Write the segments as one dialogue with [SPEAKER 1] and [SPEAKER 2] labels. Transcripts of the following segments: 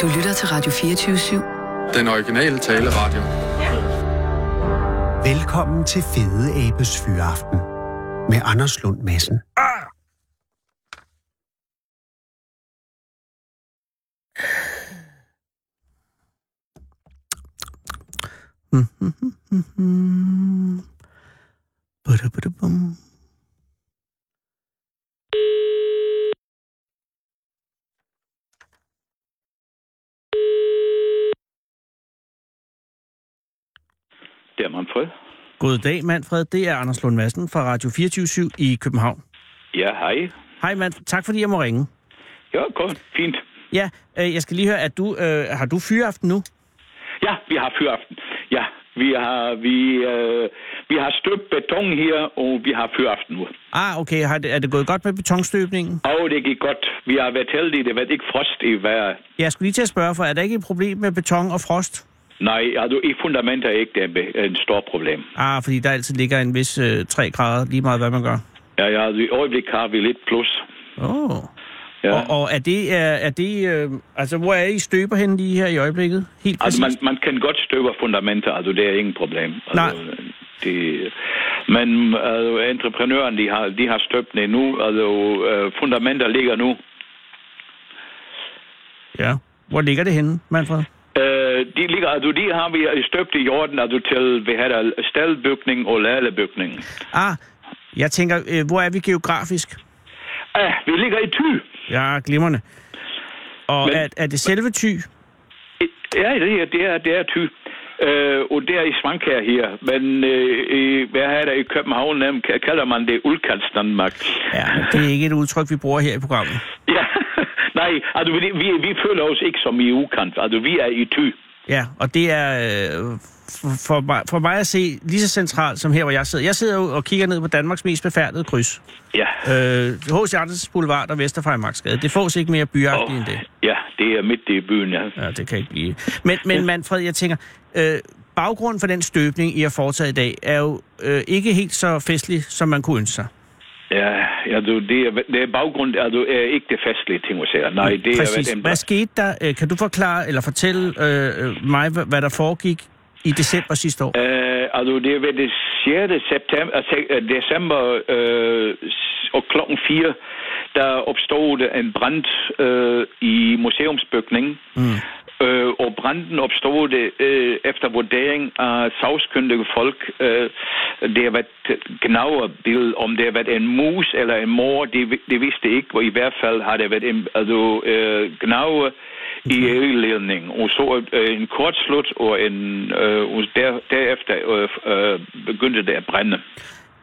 [SPEAKER 1] Du lytter til Radio 24 /7.
[SPEAKER 2] Den originale taleradio.
[SPEAKER 3] Velkommen til Fede Abes Fyraften med Anders Lund Madsen. Badabadabum.
[SPEAKER 4] Det er Manfred.
[SPEAKER 5] God dag, Manfred. Det er Anders Lund Madsen fra Radio 24 i København.
[SPEAKER 4] Ja, hej.
[SPEAKER 5] Hej, Manfred. Tak fordi jeg må ringe.
[SPEAKER 4] Ja, godt. Fint.
[SPEAKER 5] Ja, øh, jeg skal lige høre, at du, øh, har du fyraften nu?
[SPEAKER 4] Ja, vi har fyraften. Ja, vi har, vi, øh, vi har støbt beton her, og vi har fyraften nu.
[SPEAKER 5] Ah, okay. Har det, er det gået godt med betonstøbningen?
[SPEAKER 4] Og det gik godt. Vi har været heldige, det har været ikke frost i vejret.
[SPEAKER 5] Jeg skulle lige til at spørge, for er der ikke et problem med beton og frost?
[SPEAKER 4] Nej, altså i fundament er ikke det en be- en stor problem.
[SPEAKER 5] Ah, fordi der altid ligger en vis øh, 3 grader, lige meget hvad man gør.
[SPEAKER 4] Ja, ja, also, oh, altså, i øjeblikket har vi lidt plus.
[SPEAKER 5] Oh.
[SPEAKER 4] Ja.
[SPEAKER 5] Ja. Og, og er det, er, er det øh, altså hvor er I støber henne lige her i øjeblikket? Helt præcis.
[SPEAKER 4] Altså, Also man, man kan godt støve fundamenter, altså det er ingen also problem. Also Altså,
[SPEAKER 5] Nej.
[SPEAKER 4] Det, men altså, entreprenøren, de har, de har støbt det nu, altså øh, fundamenter ligger nu.
[SPEAKER 5] Ja. Hvor ligger det henne, Manfred?
[SPEAKER 4] Øh, de ligger, altså de har vi støbt i jorden, altså til, vi har der staldbygning og ladebygning.
[SPEAKER 5] Ah, jeg tænker, øh, hvor er vi geografisk?
[SPEAKER 4] Ah, vi ligger i Thy.
[SPEAKER 5] Ja, glimrende. Og
[SPEAKER 4] Men-
[SPEAKER 5] er, er det selve ty?
[SPEAKER 4] Ja, det er, det er, det er Thy. Øh, og det er i Svankær her, men øh, i, hvad er der i København, dem ka- kalder man det udkantsdanmark.
[SPEAKER 5] Ja, men det er ikke et udtryk, vi bruger her i programmet.
[SPEAKER 4] ja. Nej, altså vi, vi, vi føler os ikke som i ukant, altså vi er i Thy.
[SPEAKER 5] Ja, og det er øh, f- for, mig, for mig at se lige så centralt som her, hvor jeg sidder. Jeg sidder jo og kigger ned på Danmarks mest befærdede kryds.
[SPEAKER 4] Ja.
[SPEAKER 5] Øh, H.C. Andersens Boulevard og Vesterfejmarksgade. Det fås ikke mere byagtigt oh. end det.
[SPEAKER 4] ja, det er midt i byen, ja.
[SPEAKER 5] Ja, det kan ikke blive. Men, men Manfred, jeg tænker, øh, baggrunden for den støbning, I har foretaget i dag, er jo øh, ikke helt så festlig, som man kunne ønske sig.
[SPEAKER 4] Ja, altså det er, det er baggrund, altså er ikke det festlige ting, at sige. Nej, det
[SPEAKER 5] Præcis.
[SPEAKER 4] er...
[SPEAKER 5] Hvad skete der? Øh, Kan du forklare eller fortælle øh, øh, mig, hvad, hvad der foregik i december sidste år?
[SPEAKER 4] Øh, altså, det er ved det 6. September, altså, øh, december øh, s- og klokken 4, der opstod der en brand øh, i museumsbygningen. Mm. Øh, og branden opstod det, øh, efter vurdering af sagskyndige folk. Øh, det har været gnaverbild, om det har været en mus eller en mor, det, vi- det vidste ikke. Og i hvert fald har det været en altså, øh, gnaver i
[SPEAKER 5] Mhm.
[SPEAKER 4] elledning, og så øh, en kort slut, og, en, øh, og der, derefter øh, øh, begyndte det at brænde.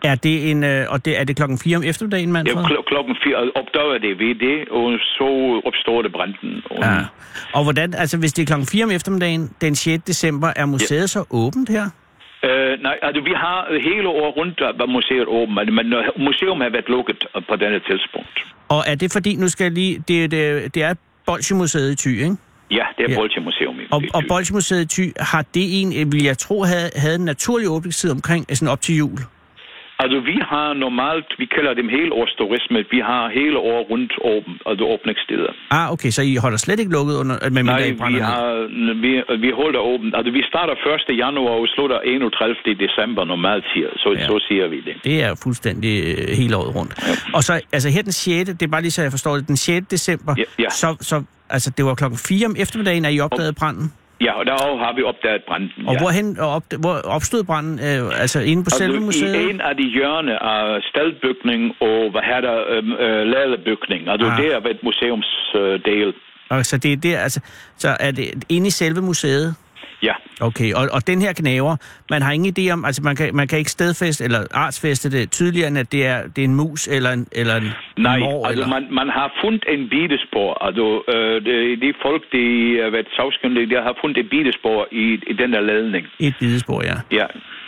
[SPEAKER 5] Er det, en, øh, og det, er det klokken 4 om eftermiddagen,
[SPEAKER 4] Ja,
[SPEAKER 5] Manfred?
[SPEAKER 4] kl- klokken fire altså, opdagede det ved det, og så opstod det branden. Og,
[SPEAKER 5] Ja. Og hvordan, altså hvis det er klokken 4 om eftermiddagen, den 6. december, er museet ja. så åbent her?
[SPEAKER 4] øh, nej, altså, vi har hele året rundt var museet åbent, men- men øh, museum har været lukket på denne tidspunkt.
[SPEAKER 5] Og er det fordi, nu skal jeg lige, det, det, det er Bolsjemuseet i Thy, ikke?
[SPEAKER 4] Ja, det
[SPEAKER 5] Ja.
[SPEAKER 4] er ja. Bolsjemuseum. i-
[SPEAKER 5] Og,
[SPEAKER 4] i
[SPEAKER 5] og
[SPEAKER 4] Thy.
[SPEAKER 5] Bolsjemuseet i Thy, har det en, øh, vil jeg tro, havde, havde en naturlig åbningstid omkring, øh, sådan op til jul?
[SPEAKER 4] Altså, vi har normalt, vi kalder dem hele års turisme, vi har hele året rundt åben, altså åbningstider.
[SPEAKER 5] Ah, okay, så I holder slet ikke lukket under, øh, med mindre I
[SPEAKER 4] Nej, vi,
[SPEAKER 5] brænder ned.
[SPEAKER 4] har, vi, vi holder åbent. Altså, vi starter 1. januar og slutter 31. december normalt, siger, så, ja.
[SPEAKER 5] Ja.
[SPEAKER 4] så siger vi det.
[SPEAKER 5] Det er fuldstændig øh, hele året rundt. Og så, altså her den 6., det er bare lige så jeg forstår det, den 6. december,
[SPEAKER 4] Ja, ja.
[SPEAKER 5] Så, så, altså det var klokken 4 om eftermiddagen, at I opdagede branden.
[SPEAKER 4] Ja, og der har vi opdaget branden.
[SPEAKER 5] Og
[SPEAKER 4] ja.
[SPEAKER 5] hvorhen og op, hvor opstod branden? Øh, altså inde på selve museet?
[SPEAKER 4] I en af de hjørne af staldbygning og hvad her der, øhm, øh, ladebygning. Altså,
[SPEAKER 5] Ah.
[SPEAKER 4] ah. det er et museumsdel. Øh,
[SPEAKER 5] Og så det er der, altså, så er det inde i selve museet?
[SPEAKER 4] ja.
[SPEAKER 5] Okay, og, og den her knaver, man har ingen idé om, altså man kan, man kan ikke stedfæste eller artsfæste det tydeligere, end at det er, det er en mus eller en, eller en
[SPEAKER 4] Nej,
[SPEAKER 5] mår,
[SPEAKER 4] altså
[SPEAKER 5] eller...
[SPEAKER 4] man, man har fundet en bitespor. Altså, øh, de, de folk, de har været sagskundige, de har fundet et bitespor i, i den der ladning.
[SPEAKER 5] Et bidespor, ja.
[SPEAKER 4] Ja.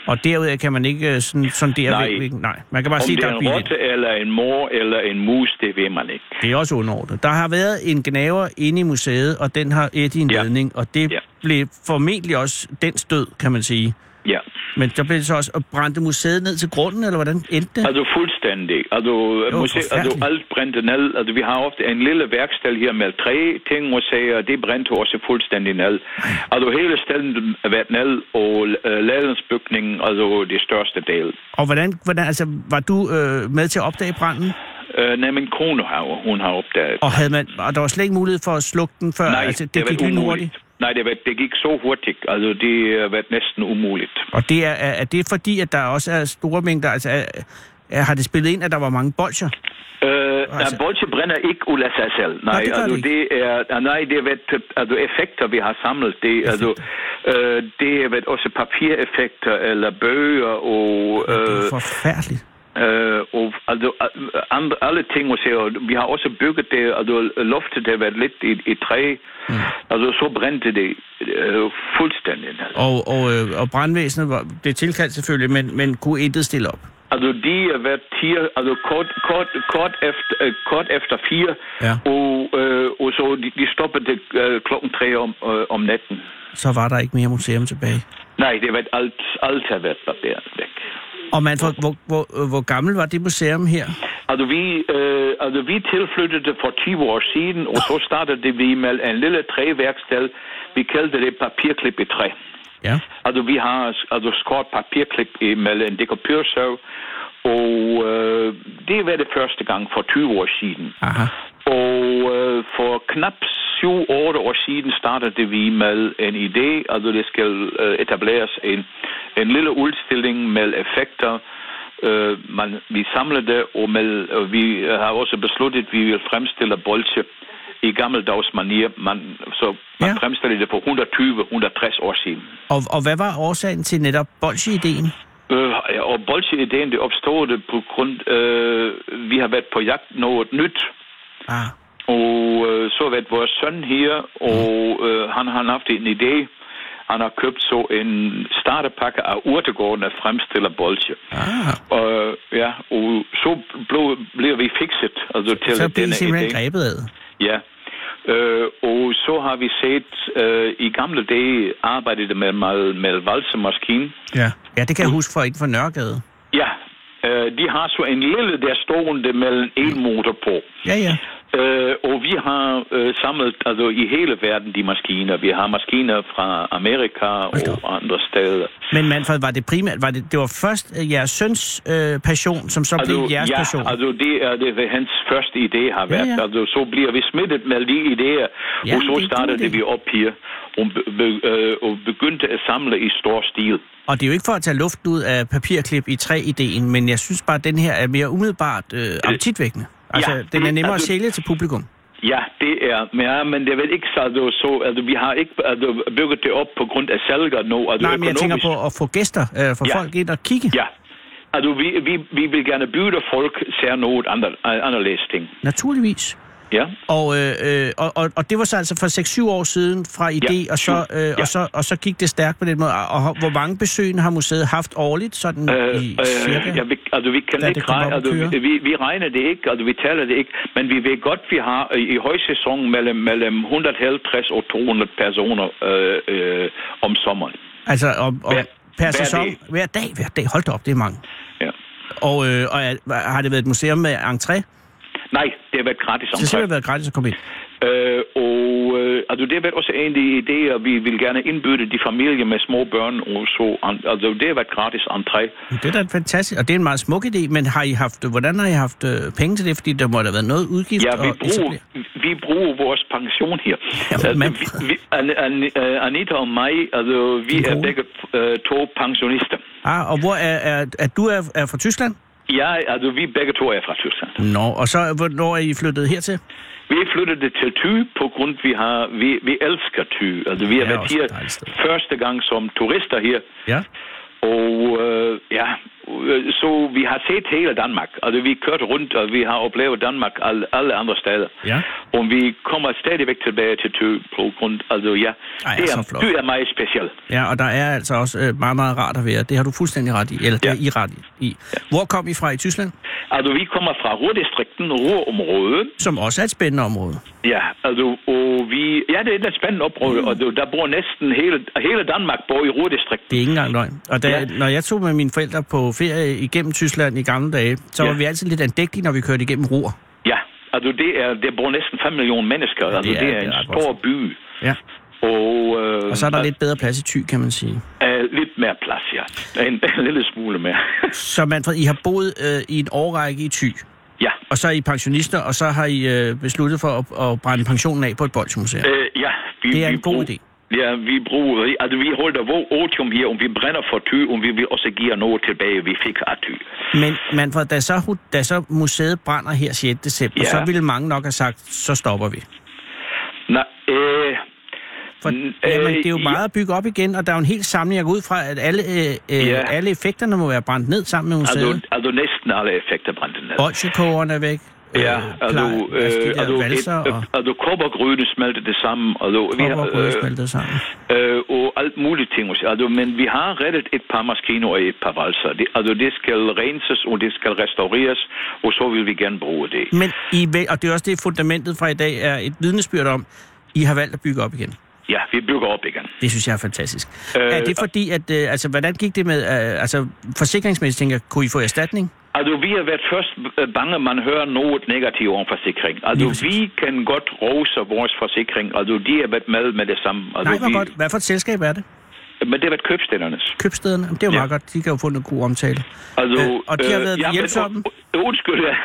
[SPEAKER 5] Og derudover kan man ikke øh, sådan, sondere...
[SPEAKER 4] Nej.
[SPEAKER 5] væk- væk- nej, man kan bare
[SPEAKER 4] Om
[SPEAKER 5] sige,
[SPEAKER 4] det
[SPEAKER 5] der
[SPEAKER 4] er
[SPEAKER 5] er
[SPEAKER 4] en
[SPEAKER 5] bilen.
[SPEAKER 4] rotte eller en mor eller en mus, det ved man ikke.
[SPEAKER 5] Det er også underordnet. Der har været en gnaver inde i museet, og den har et i en
[SPEAKER 4] Ja.
[SPEAKER 5] ledning, og det
[SPEAKER 4] Ja.
[SPEAKER 5] blev formentlig også den stød, kan man sige.
[SPEAKER 4] Ja,
[SPEAKER 5] Men der blev det så også og brændte museet ned til grunden, eller hvordan endte det?
[SPEAKER 4] altså fuldstændig. Altså, museet, altså
[SPEAKER 5] forfærdeligt.
[SPEAKER 4] alt brændte ned. Altså, vi har ofte en lille værksted her med tre ting og sager, det brændte også fuldstændig ned. Altså, hele stedet er været ned, og øh, ladensbygningen, altså det største del.
[SPEAKER 5] Og hvordan, hvordan altså, var du øh, med til at opdage branden?
[SPEAKER 4] Øh, nej, min kone har, hun har opdaget.
[SPEAKER 5] Og, havde man, og der var slet ikke mulighed for at slukke den før?
[SPEAKER 4] nej,
[SPEAKER 5] altså, det,
[SPEAKER 4] har
[SPEAKER 5] det gik
[SPEAKER 4] været
[SPEAKER 5] lynhurtigt.
[SPEAKER 4] Nej, det, har været- det gik så hurtigt. Altså, det har været næsten umuligt.
[SPEAKER 5] Og det er, er, er det fordi, at der også er store mængder... Altså, er, er, har det spillet ind, at der var mange bolcher?
[SPEAKER 4] Øh,
[SPEAKER 5] Altså-
[SPEAKER 4] altså, bolche brænder ikke ud af sig selv. Nej,
[SPEAKER 5] det gør
[SPEAKER 4] altså,
[SPEAKER 5] det
[SPEAKER 4] det er, ah, nej, det er været, øh, altså, effekter, vi har samlet. Det, altså, øh, det er været også papireffekter eller bøger og,
[SPEAKER 5] Det
[SPEAKER 4] øh,
[SPEAKER 5] er forfærdeligt.
[SPEAKER 4] øh, og altså, a- andre, alle ting. Og så, vi har også bygget det, altså, loftet har været lidt i, i træ. Mm. Altså, så brændte det øh, fuldstændig. Altså.
[SPEAKER 5] Og, og, øh, og brandvæsenet var, blev tilkaldt selvfølgelig, men, men kunne intet stille op.
[SPEAKER 4] Altså, de har været tier, altså kort, kort, kort, efter, øh, kort efter fire,
[SPEAKER 5] Ja.
[SPEAKER 4] og, øh, og så de, de stoppede øh, klokken tre om, øh, om natten.
[SPEAKER 5] Så var der ikke mere museum tilbage.
[SPEAKER 4] Nej, det har været alt, alt har været der væk.
[SPEAKER 5] Og man, hvor, hvor, hvor, øh, hvor gammel var det museum her?
[SPEAKER 4] Altså, vi, øh, altså, vi tilflyttede for 20 år siden, og så startede det vi med en lille træværksted. Vi kaldte det papirklip i træ.
[SPEAKER 5] Ja.
[SPEAKER 4] Altså, vi har altså, skåret papirklip i- med en dekopørsøv, og øh, det var det første gang for 20 år siden.
[SPEAKER 5] Aha.
[SPEAKER 4] Og øh, for knap 7-8 år siden startede vi med en idé, altså det skal øh, etableres en, en lille udstilling med effekter. Øh, man, vi samler det, og, med, og vi øh, har også besluttet, at vi vil fremstille bolche i gammeldags manier. Man, så man
[SPEAKER 5] Ja.
[SPEAKER 4] ja. fremstiller det for 120-160 år siden.
[SPEAKER 5] Og, og hvad var årsagen til netop bolsje-ideen?
[SPEAKER 4] Øh, og bolche-ideen det opstod på grund, øh, vi har været på jagt noget nyt.
[SPEAKER 5] Ah.
[SPEAKER 4] Og øh, så har været vores søn her, og øh, han har haft en idé. Han har købt så en starterpakke af urtegården, der fremstiller bolsje.
[SPEAKER 5] ah.
[SPEAKER 4] Og, ja, og så blev, blev vi fikset altså, til
[SPEAKER 5] Så blev I
[SPEAKER 4] denne
[SPEAKER 5] simpelthen
[SPEAKER 4] idé.
[SPEAKER 5] grebet af. det.
[SPEAKER 4] Ja. Øh, og så har vi set, øh, i gamle dage arbejdede med, med, med valsemaskinen.
[SPEAKER 5] Ja. Ja, det kan jeg huske for ikke fra Nørregade.
[SPEAKER 4] Ja, øh, de har så en lille der stående med en motor på.
[SPEAKER 5] Ja, ja.
[SPEAKER 4] Øh, og vi har øh, samlet altså, i hele verden de maskiner. Vi har maskiner fra Amerika og andre steder.
[SPEAKER 5] Men Manfred, var det primært, var det, det var først øh, jeres søns øh, passion, som så blev jeres
[SPEAKER 4] ja,
[SPEAKER 5] passion?
[SPEAKER 4] altså det er det, hvad hans første idé har været.
[SPEAKER 5] ja.
[SPEAKER 4] Altså, så bliver vi smittet med de idéer,
[SPEAKER 5] Ja,
[SPEAKER 4] ja,
[SPEAKER 5] det er
[SPEAKER 4] og så
[SPEAKER 5] en god
[SPEAKER 4] startede
[SPEAKER 5] idé.
[SPEAKER 4] det vi op her og, be, be, øh, og begyndte at samle i stor stil.
[SPEAKER 5] Og det er jo ikke for at tage luften ud af papirklip i træ-ideen, men jeg synes bare, at den her er mere umiddelbart øh, appetitvækkende. Altså, ja,
[SPEAKER 4] ja,
[SPEAKER 5] den er
[SPEAKER 4] mm,
[SPEAKER 5] nemmere at
[SPEAKER 4] altså-
[SPEAKER 5] sælge til publikum.
[SPEAKER 4] Ja, det er, men, ja, men det er vel ikke så, altså, så altså, vi har ikke altså, bygget det op på grund af salger nu. Altså,
[SPEAKER 5] Nej, men jeg tænker
[SPEAKER 4] økonomisk-
[SPEAKER 5] på at få gæster, øh, få
[SPEAKER 4] Ja.
[SPEAKER 5] folk ind og kigge.
[SPEAKER 4] Ja. Altså, vi, vi, vi vil gerne byde folk ser noget andre, anderledes ting.
[SPEAKER 5] Naturligvis.
[SPEAKER 4] Ja.
[SPEAKER 5] Og, øh, øh, og, og, og det var så altså for 6-7 år siden fra idé,
[SPEAKER 4] Ja,
[SPEAKER 5] og, så,
[SPEAKER 4] syv.
[SPEAKER 5] øh,
[SPEAKER 4] Ja.
[SPEAKER 5] og, så, og så gik det stærkt på den måde. Og, og hvor mange besøgende har museet haft årligt, sådan
[SPEAKER 4] Øh,
[SPEAKER 5] i cirka?
[SPEAKER 4] øh, ja, vi, altså, vi kan
[SPEAKER 5] Da det
[SPEAKER 4] ikke
[SPEAKER 5] kommer op
[SPEAKER 4] regne,
[SPEAKER 5] at
[SPEAKER 4] altså, vi,
[SPEAKER 5] køre.
[SPEAKER 4] vi, vi regner det ikke, altså, vi taler det ikke, men vi ved godt, vi har øh, i, i højsæson mellem, mellem 150 og 200 personer øh, øh, om sommeren.
[SPEAKER 5] Altså, og, og
[SPEAKER 4] Hver-
[SPEAKER 5] per
[SPEAKER 4] hver
[SPEAKER 5] sæson?
[SPEAKER 4] dag.
[SPEAKER 5] Hver dag, hver dag. Hold da op, det er mange.
[SPEAKER 4] Ja.
[SPEAKER 5] Og, øh, og er, har det været et museum med entré?
[SPEAKER 4] Nej, det har været gratis
[SPEAKER 5] Så det har
[SPEAKER 4] omkring.
[SPEAKER 5] simpelthen været gratis at komme ind.
[SPEAKER 4] Øh, og øh, altså, det har været også en af de idéer, vi vil gerne indbyde de familier med små børn og så. an- Altså, det har været gratis entré.
[SPEAKER 5] Det er da fantastisk, og det er en meget smuk idé, men har I haft, hvordan har I haft øh, penge til det? Fordi der må da have været noget udgift.
[SPEAKER 4] Ja, vi
[SPEAKER 5] og
[SPEAKER 4] bruger,
[SPEAKER 5] etablere-
[SPEAKER 4] vi bruger vores pension
[SPEAKER 5] Ja,
[SPEAKER 4] her. Altså,
[SPEAKER 5] men-
[SPEAKER 4] vi, vi, An- An- øh, Anita og mig, altså, vi
[SPEAKER 5] Din
[SPEAKER 4] er
[SPEAKER 5] kone?
[SPEAKER 4] begge øh, to pensionister.
[SPEAKER 5] Ah, og hvor er, er, er du er, er fra Tyskland?
[SPEAKER 4] Ja, altså, vi begge to er fra Tyskland.
[SPEAKER 5] Nå, og så hvornår er I flyttet hertil?
[SPEAKER 4] Vi flyttede til Thy på grund, vi har, vi, vi elsker Thy. Altså, vi har
[SPEAKER 5] Det er
[SPEAKER 4] været
[SPEAKER 5] også
[SPEAKER 4] her
[SPEAKER 5] et dejligt sted.
[SPEAKER 4] første gang som turister her,
[SPEAKER 5] Ja.
[SPEAKER 4] og øh, ja, øh, så vi har set hele Danmark. Altså, vi kørte rundt, og vi har oplevet Danmark alle, alle andre steder.
[SPEAKER 5] Ja.
[SPEAKER 4] Og vi kommer stadigvæk tilbage til Tø på grund. Altså, ja,
[SPEAKER 5] Ej,
[SPEAKER 4] det
[SPEAKER 5] så
[SPEAKER 4] er,
[SPEAKER 5] flot.
[SPEAKER 4] det er meget specielt.
[SPEAKER 5] Ja, og der er altså også øh, meget, meget rart at være. Det har du fuldstændig ret i. Eller ja. det er I ret i. Hvor kom I fra i Tyskland?
[SPEAKER 4] Altså, vi kommer fra Ruhrdistrikten, Ruhrområdet.
[SPEAKER 5] Som også er et spændende område.
[SPEAKER 4] Ja, altså, og vi... Ja, det er et lidt spændende område, mm. og der bor næsten hele, hele Danmark bor i Ruhrdistrikten.
[SPEAKER 5] Det er ikke engang løgn. Og da, ja.
[SPEAKER 4] Ja.
[SPEAKER 5] når jeg tog med mine forældre på ferie igennem Tyskland i gamle dage, så var
[SPEAKER 4] Ja.
[SPEAKER 5] vi altid lidt andægtige, når vi kørte igennem Ruhr.
[SPEAKER 4] Ja, altså, det er, der bor næsten 5 millioner mennesker. Ja, altså, det er, det er en
[SPEAKER 5] ret
[SPEAKER 4] stor
[SPEAKER 5] voldsomt.
[SPEAKER 4] by.
[SPEAKER 5] Ja.
[SPEAKER 4] Og, øh,
[SPEAKER 5] Og så er der lidt bedre plads i Thy, kan man sige.
[SPEAKER 4] Øh, lidt mere plads, ja. En, en lille smule mere.
[SPEAKER 5] Så Manfred, I har boet øh, i en årrække i Thy,
[SPEAKER 4] ja.
[SPEAKER 5] og så er I pensionister, og så har I øh, besluttet for at, at brænde pensionen af på et bolsjemuseum.
[SPEAKER 4] Øh, ja. Vi,
[SPEAKER 5] Det er
[SPEAKER 4] vi
[SPEAKER 5] en god
[SPEAKER 4] brug-
[SPEAKER 5] idé.
[SPEAKER 4] Ja, vi bruger, altså vi holder vores otium her, og vi brænder for ty, og vi vil også give noget tilbage, vi fik af ty.
[SPEAKER 5] Men Manfred, da så, hu- da så museet brænder her 6. december, ja.
[SPEAKER 4] Ja.
[SPEAKER 5] så ville mange nok have sagt, så stopper vi.
[SPEAKER 4] Nej, øh,
[SPEAKER 5] For
[SPEAKER 4] Mm,
[SPEAKER 5] jamen,
[SPEAKER 4] øh,
[SPEAKER 5] det er jo
[SPEAKER 4] ja.
[SPEAKER 5] meget at bygge op igen, og der er jo en hel samling, jeg går ud fra, at alle, øh, øh,
[SPEAKER 4] Ja.
[SPEAKER 5] alle effekterne må være brændt ned sammen med
[SPEAKER 4] altså,
[SPEAKER 5] museet.
[SPEAKER 4] altså næsten alle effekter brændte ned.
[SPEAKER 5] Bolsjekogerne er væk.
[SPEAKER 4] Ja, altså,
[SPEAKER 5] øh, altså, de
[SPEAKER 4] øh,
[SPEAKER 5] der
[SPEAKER 4] altså,
[SPEAKER 5] valser
[SPEAKER 4] et-
[SPEAKER 5] og
[SPEAKER 4] altså kobbergryne smelter det samme, altså, vi har,
[SPEAKER 5] kopper og brød smeltet sammen.
[SPEAKER 4] øh, og alt muligt ting. Altså, men vi har reddet et par maskiner og et par valser. Det, altså, det skal renses, og det skal restaureres, og så vil vi gerne bruge det.
[SPEAKER 5] Men I, væl- og det er også det, fundamentet fra i dag er et vidnesbyrd om, I har valgt at bygge op igen.
[SPEAKER 4] Ja, vi bygger op igen.
[SPEAKER 5] Det synes jeg er fantastisk. Øh,
[SPEAKER 4] Øh,
[SPEAKER 5] er det fordi, at, øh, altså, hvordan gik det med, øh, altså, forsikringsmæssigt tænker, jeg, kunne I få erstatning?
[SPEAKER 4] Altså, vi har været først øh, bange, man hører noget negativt om forsikring. Altså,
[SPEAKER 5] Lige præcis.
[SPEAKER 4] vi kan godt rose vores forsikring. Altså, de har været med med det samme. Altså,
[SPEAKER 5] Nej, hvor
[SPEAKER 4] vi,
[SPEAKER 5] godt. Hvad for et selskab er det?
[SPEAKER 4] Men det har været købstændernes.
[SPEAKER 5] Købstederne? Jamen, Det er jo
[SPEAKER 4] Ja.
[SPEAKER 5] meget godt. De kan jo få en god omtale.
[SPEAKER 4] Altså,
[SPEAKER 5] Øh, og de har været
[SPEAKER 4] men-
[SPEAKER 5] hjælpsomme?
[SPEAKER 4] øh, Undskyld, ja.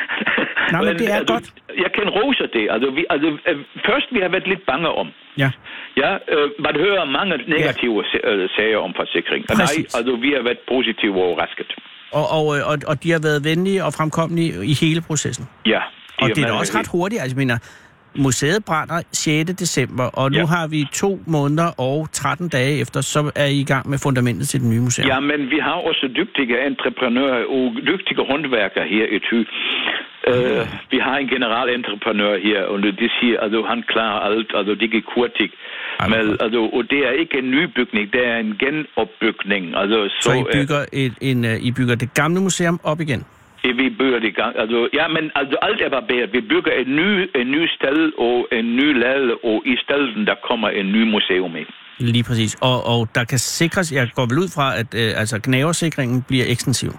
[SPEAKER 5] Nej, men det er
[SPEAKER 4] altså,
[SPEAKER 5] godt.
[SPEAKER 4] Jeg kan rose det. Altså, vi, altså, øh, først vi har været lidt bange om.
[SPEAKER 5] Ja.
[SPEAKER 4] Ja, øh, man hører mange negative ja. øh, sager om forsikring. Og Nej,
[SPEAKER 5] Præcis.
[SPEAKER 4] altså, vi har været positivt overrasket.
[SPEAKER 5] Og, og, øh, og, og de har været venlige og fremkommelige i hele processen.
[SPEAKER 4] Ja. de
[SPEAKER 5] og
[SPEAKER 4] har
[SPEAKER 5] det er da
[SPEAKER 4] været-
[SPEAKER 5] også ret hurtigt. Altså, jeg mener, museet brænder 6. december, og nu
[SPEAKER 4] Ja.
[SPEAKER 5] har vi to måneder og 13 dage efter, så er I i gang med fundamentet til det nye museum.
[SPEAKER 4] Ja, men vi har også dygtige entreprenører og dygtige håndværkere her i Thy. Uh, vi har en generalentreprenør her, og de siger, at han klarer alt, altså det gik hurtigt.
[SPEAKER 5] Ej, hvor
[SPEAKER 4] Men,
[SPEAKER 5] godt.
[SPEAKER 4] altså, og det er ikke en ny bygning, det er en genopbygning. Altså, så,
[SPEAKER 5] så I
[SPEAKER 4] øh,
[SPEAKER 5] bygger, et, en, øh, I bygger det gamle museum op igen.
[SPEAKER 4] det vi bygger det i gang. Altså, ja, men altså, alt er barberet. Vi bygger en ny, en ny sted og en ny lade, og i stedet der kommer en ny museum ind.
[SPEAKER 5] Lige præcis. Og, og der kan sikres, jeg går vel ud fra, at øh, altså, gnaversikringen bliver ekstensiv.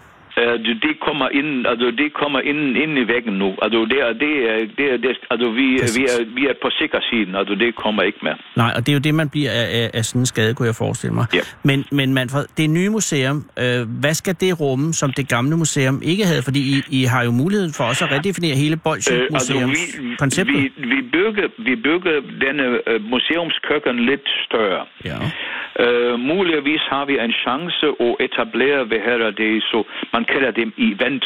[SPEAKER 4] Øh, det det kommer ind, altså det kommer ind, ind i væggen nu. Altså det er, det er, det er, det er altså vi, vi, er, vi er på sikker siden, altså det kommer ikke med.
[SPEAKER 5] Nej, og det er jo det, man bliver af, af, af sådan en skade, kunne jeg forestille mig.
[SPEAKER 4] Ja.
[SPEAKER 5] Men, men Manfred, det nye museum, øh, hvad skal det rumme, som det gamle museum ikke havde? Fordi I, I har jo muligheden for også at redefinere hele
[SPEAKER 4] Øh, altså
[SPEAKER 5] Bolsje-museums-konceptet.
[SPEAKER 4] vi, vi, bygger, vi bygger denne øh, museumskøkken lidt større.
[SPEAKER 5] Ja.
[SPEAKER 4] Øh, muligvis har vi en chance at etablere, hvad her er det, så man kalder dem event.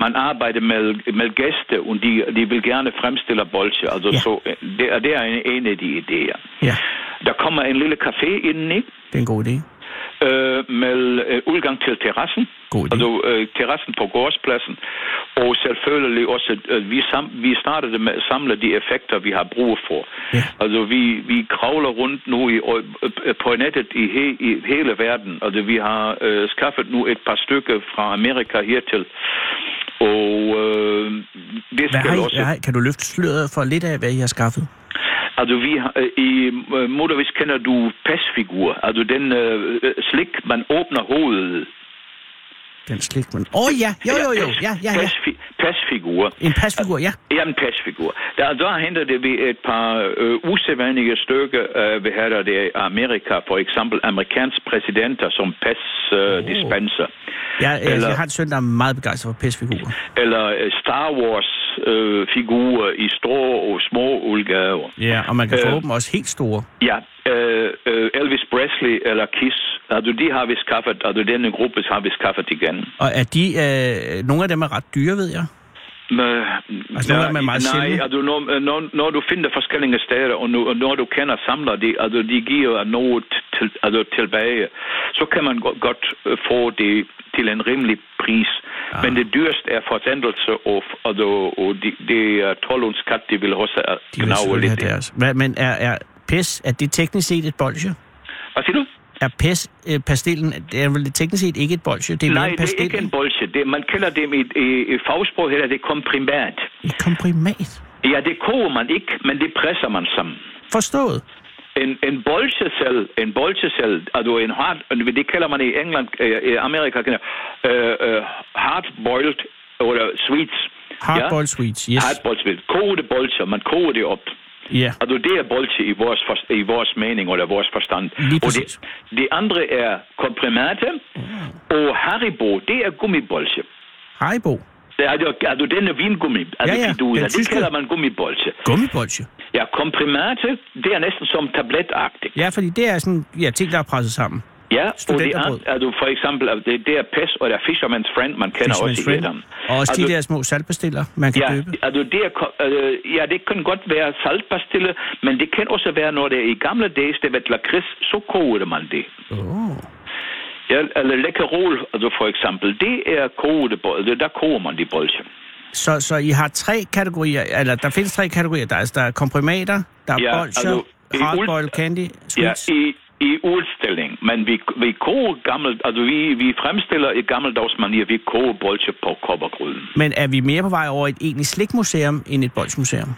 [SPEAKER 4] Man arbejder med, med gæster, og de, de vil gerne fremstille bolsje. Altså,
[SPEAKER 5] Ja.
[SPEAKER 4] ja. så, øh, det, er- det er en, en af de idéer.
[SPEAKER 5] ja,
[SPEAKER 4] Der kommer en lille café inden, ikke?
[SPEAKER 5] det er en god idé.
[SPEAKER 4] øh, med øh, udgang til terrassen.
[SPEAKER 5] God idé.
[SPEAKER 4] Altså øh, terrassen på gårdspladsen. Og selvfølgelig også, øh, vi, sam, vi startede med at samle de effekter, vi har brug for.
[SPEAKER 5] Ja.
[SPEAKER 4] Altså vi, vi kravler rundt nu i, øj- øh, på nettet i, he, i hele verden. Altså vi har øh, skaffet nu et par stykker fra Amerika hertil. Og øh, det
[SPEAKER 5] Hvad
[SPEAKER 4] skal
[SPEAKER 5] har I,
[SPEAKER 4] også...
[SPEAKER 5] hvad har I, kan du løfte sløret for lidt af, hvad I har skaffet?
[SPEAKER 4] Altså, vi har, øh, i øh, motorvis kender du pasfigur, altså den øh, øh, slik, man åbner hovedet.
[SPEAKER 5] Den slik, man... Åh oh, ja, jo jo jo, ja, ja, ja.
[SPEAKER 4] Pasfi- pasfigur.
[SPEAKER 5] En pasfigur, ja.
[SPEAKER 4] Ja, en pasfigur. Der, der henter det vi et par øh, usædvanlige stykker, øh, vi har det i Amerika, for eksempel amerikanske præsidenter som pasdispenser, øh, dispenser.
[SPEAKER 5] Jeg, jeg,
[SPEAKER 4] Eller-
[SPEAKER 5] øh, jeg har en søn, der er meget begejstret for pasfigurer.
[SPEAKER 4] eller øh, Star Wars-figurer øh, figurer i store og små udgaver.
[SPEAKER 5] Ja, og man kan få
[SPEAKER 4] Øh.
[SPEAKER 5] dem også helt store.
[SPEAKER 4] Ja, øh, øh, Elvis Presley eller Kiss, altså de har vi skaffet, altså denne gruppe har vi skaffet igen.
[SPEAKER 5] Og er de, øh, nogle af dem er ret dyre, ved jeg.
[SPEAKER 4] Men,
[SPEAKER 5] Altså, nogle af dem er meget
[SPEAKER 4] nej,
[SPEAKER 5] sjældne.
[SPEAKER 4] altså, når, når, når du finder forskellige steder, og, nu, og når du kender samler, de, altså, de giver noget til, altså, tilbage, så kan man godt, godt øh, få det til en rimelig pris.
[SPEAKER 5] Ah.
[SPEAKER 4] Ja. Men det dyreste er forsendelse, og, altså, og det de er 12 uns kat, de vil også øh,
[SPEAKER 5] De vil
[SPEAKER 4] gnave
[SPEAKER 5] selvfølgelig
[SPEAKER 4] lidt.
[SPEAKER 5] have deres. Hvad, men er, er pis, er det teknisk set et bolsje?
[SPEAKER 4] Hvad siger du?
[SPEAKER 5] Er pis, øh, pastillen, det er vel teknisk set ikke et bolsje? Det er mere
[SPEAKER 4] Nej,
[SPEAKER 5] en
[SPEAKER 4] det er
[SPEAKER 5] pastil.
[SPEAKER 4] ikke en bolsje. Det, man kalder dem i, i, i fagsprog, hedder det komprimat.
[SPEAKER 5] Et komprimat.
[SPEAKER 4] Ja, det koger man ikke, men det presser man sammen.
[SPEAKER 5] Forstået.
[SPEAKER 4] En, en bolsjecel, en bolsjecel, altså en hard, det kalder man i England, øh, i Amerika, kalder, øh, øh, hard-boiled, eller sweets.
[SPEAKER 5] Hardball sweets,
[SPEAKER 4] Ja?
[SPEAKER 5] yes.
[SPEAKER 4] Hardboiled sweets. Kogede bolsjer, man koger det op.
[SPEAKER 5] Ja.
[SPEAKER 4] Altså det er bolsje i vores, for, i vores mening, eller vores forstand.
[SPEAKER 5] Lige
[SPEAKER 4] og
[SPEAKER 5] præcis. Mm.
[SPEAKER 4] det, det andre er komprimate, og Haribo, det er gummibolsje.
[SPEAKER 5] Haribo.
[SPEAKER 4] Det er, altså, altså den er vingummi, altså
[SPEAKER 5] Ja,
[SPEAKER 4] ja,
[SPEAKER 5] ja,
[SPEAKER 4] ja.
[SPEAKER 5] den
[SPEAKER 4] Fiduen, det
[SPEAKER 5] tyske.
[SPEAKER 4] kalder man gummibolsje.
[SPEAKER 5] Gummibolsje.
[SPEAKER 4] Ja, komprimate, det er næsten som tabletagtigt.
[SPEAKER 5] Ja, fordi det er sådan, ja, ting, der er presset sammen.
[SPEAKER 4] Ja, og det er,
[SPEAKER 5] Studenterbrød.
[SPEAKER 4] altså for eksempel, altså, det, det er PES, og der er Fisherman's Friend, man kender
[SPEAKER 5] Fisherman's
[SPEAKER 4] også i
[SPEAKER 5] Friend.
[SPEAKER 4] Vietnam.
[SPEAKER 5] Og også de
[SPEAKER 4] Altså,
[SPEAKER 5] der små saltpastiller, man kan
[SPEAKER 4] Ja,
[SPEAKER 5] købe.
[SPEAKER 4] altså det, er, ko- øh, ja, det kan godt være saltpastille, men det kan også være, når det er i gamle dage, det var lakrids, så kogede man det.
[SPEAKER 5] Åh.
[SPEAKER 4] Ja, eller lækkerol, altså for eksempel, det er kogede bolde, der koger man de bolde.
[SPEAKER 5] Så, så I har tre kategorier, eller der findes tre kategorier. Der er, altså, der er komprimater, der er ja,
[SPEAKER 4] Ja,
[SPEAKER 5] bolcher,
[SPEAKER 4] altså, i
[SPEAKER 5] altså, hardboiled
[SPEAKER 4] ul-
[SPEAKER 5] candy,
[SPEAKER 4] Ja,
[SPEAKER 5] sweets.
[SPEAKER 4] i, i udstilling, men vi, vi koger gammel, altså vi, vi fremstiller i gammeldags manier, vi koger bolde på koppergryden.
[SPEAKER 5] Men er vi mere på vej over et egentligt slikmuseum end et bolsmuseum?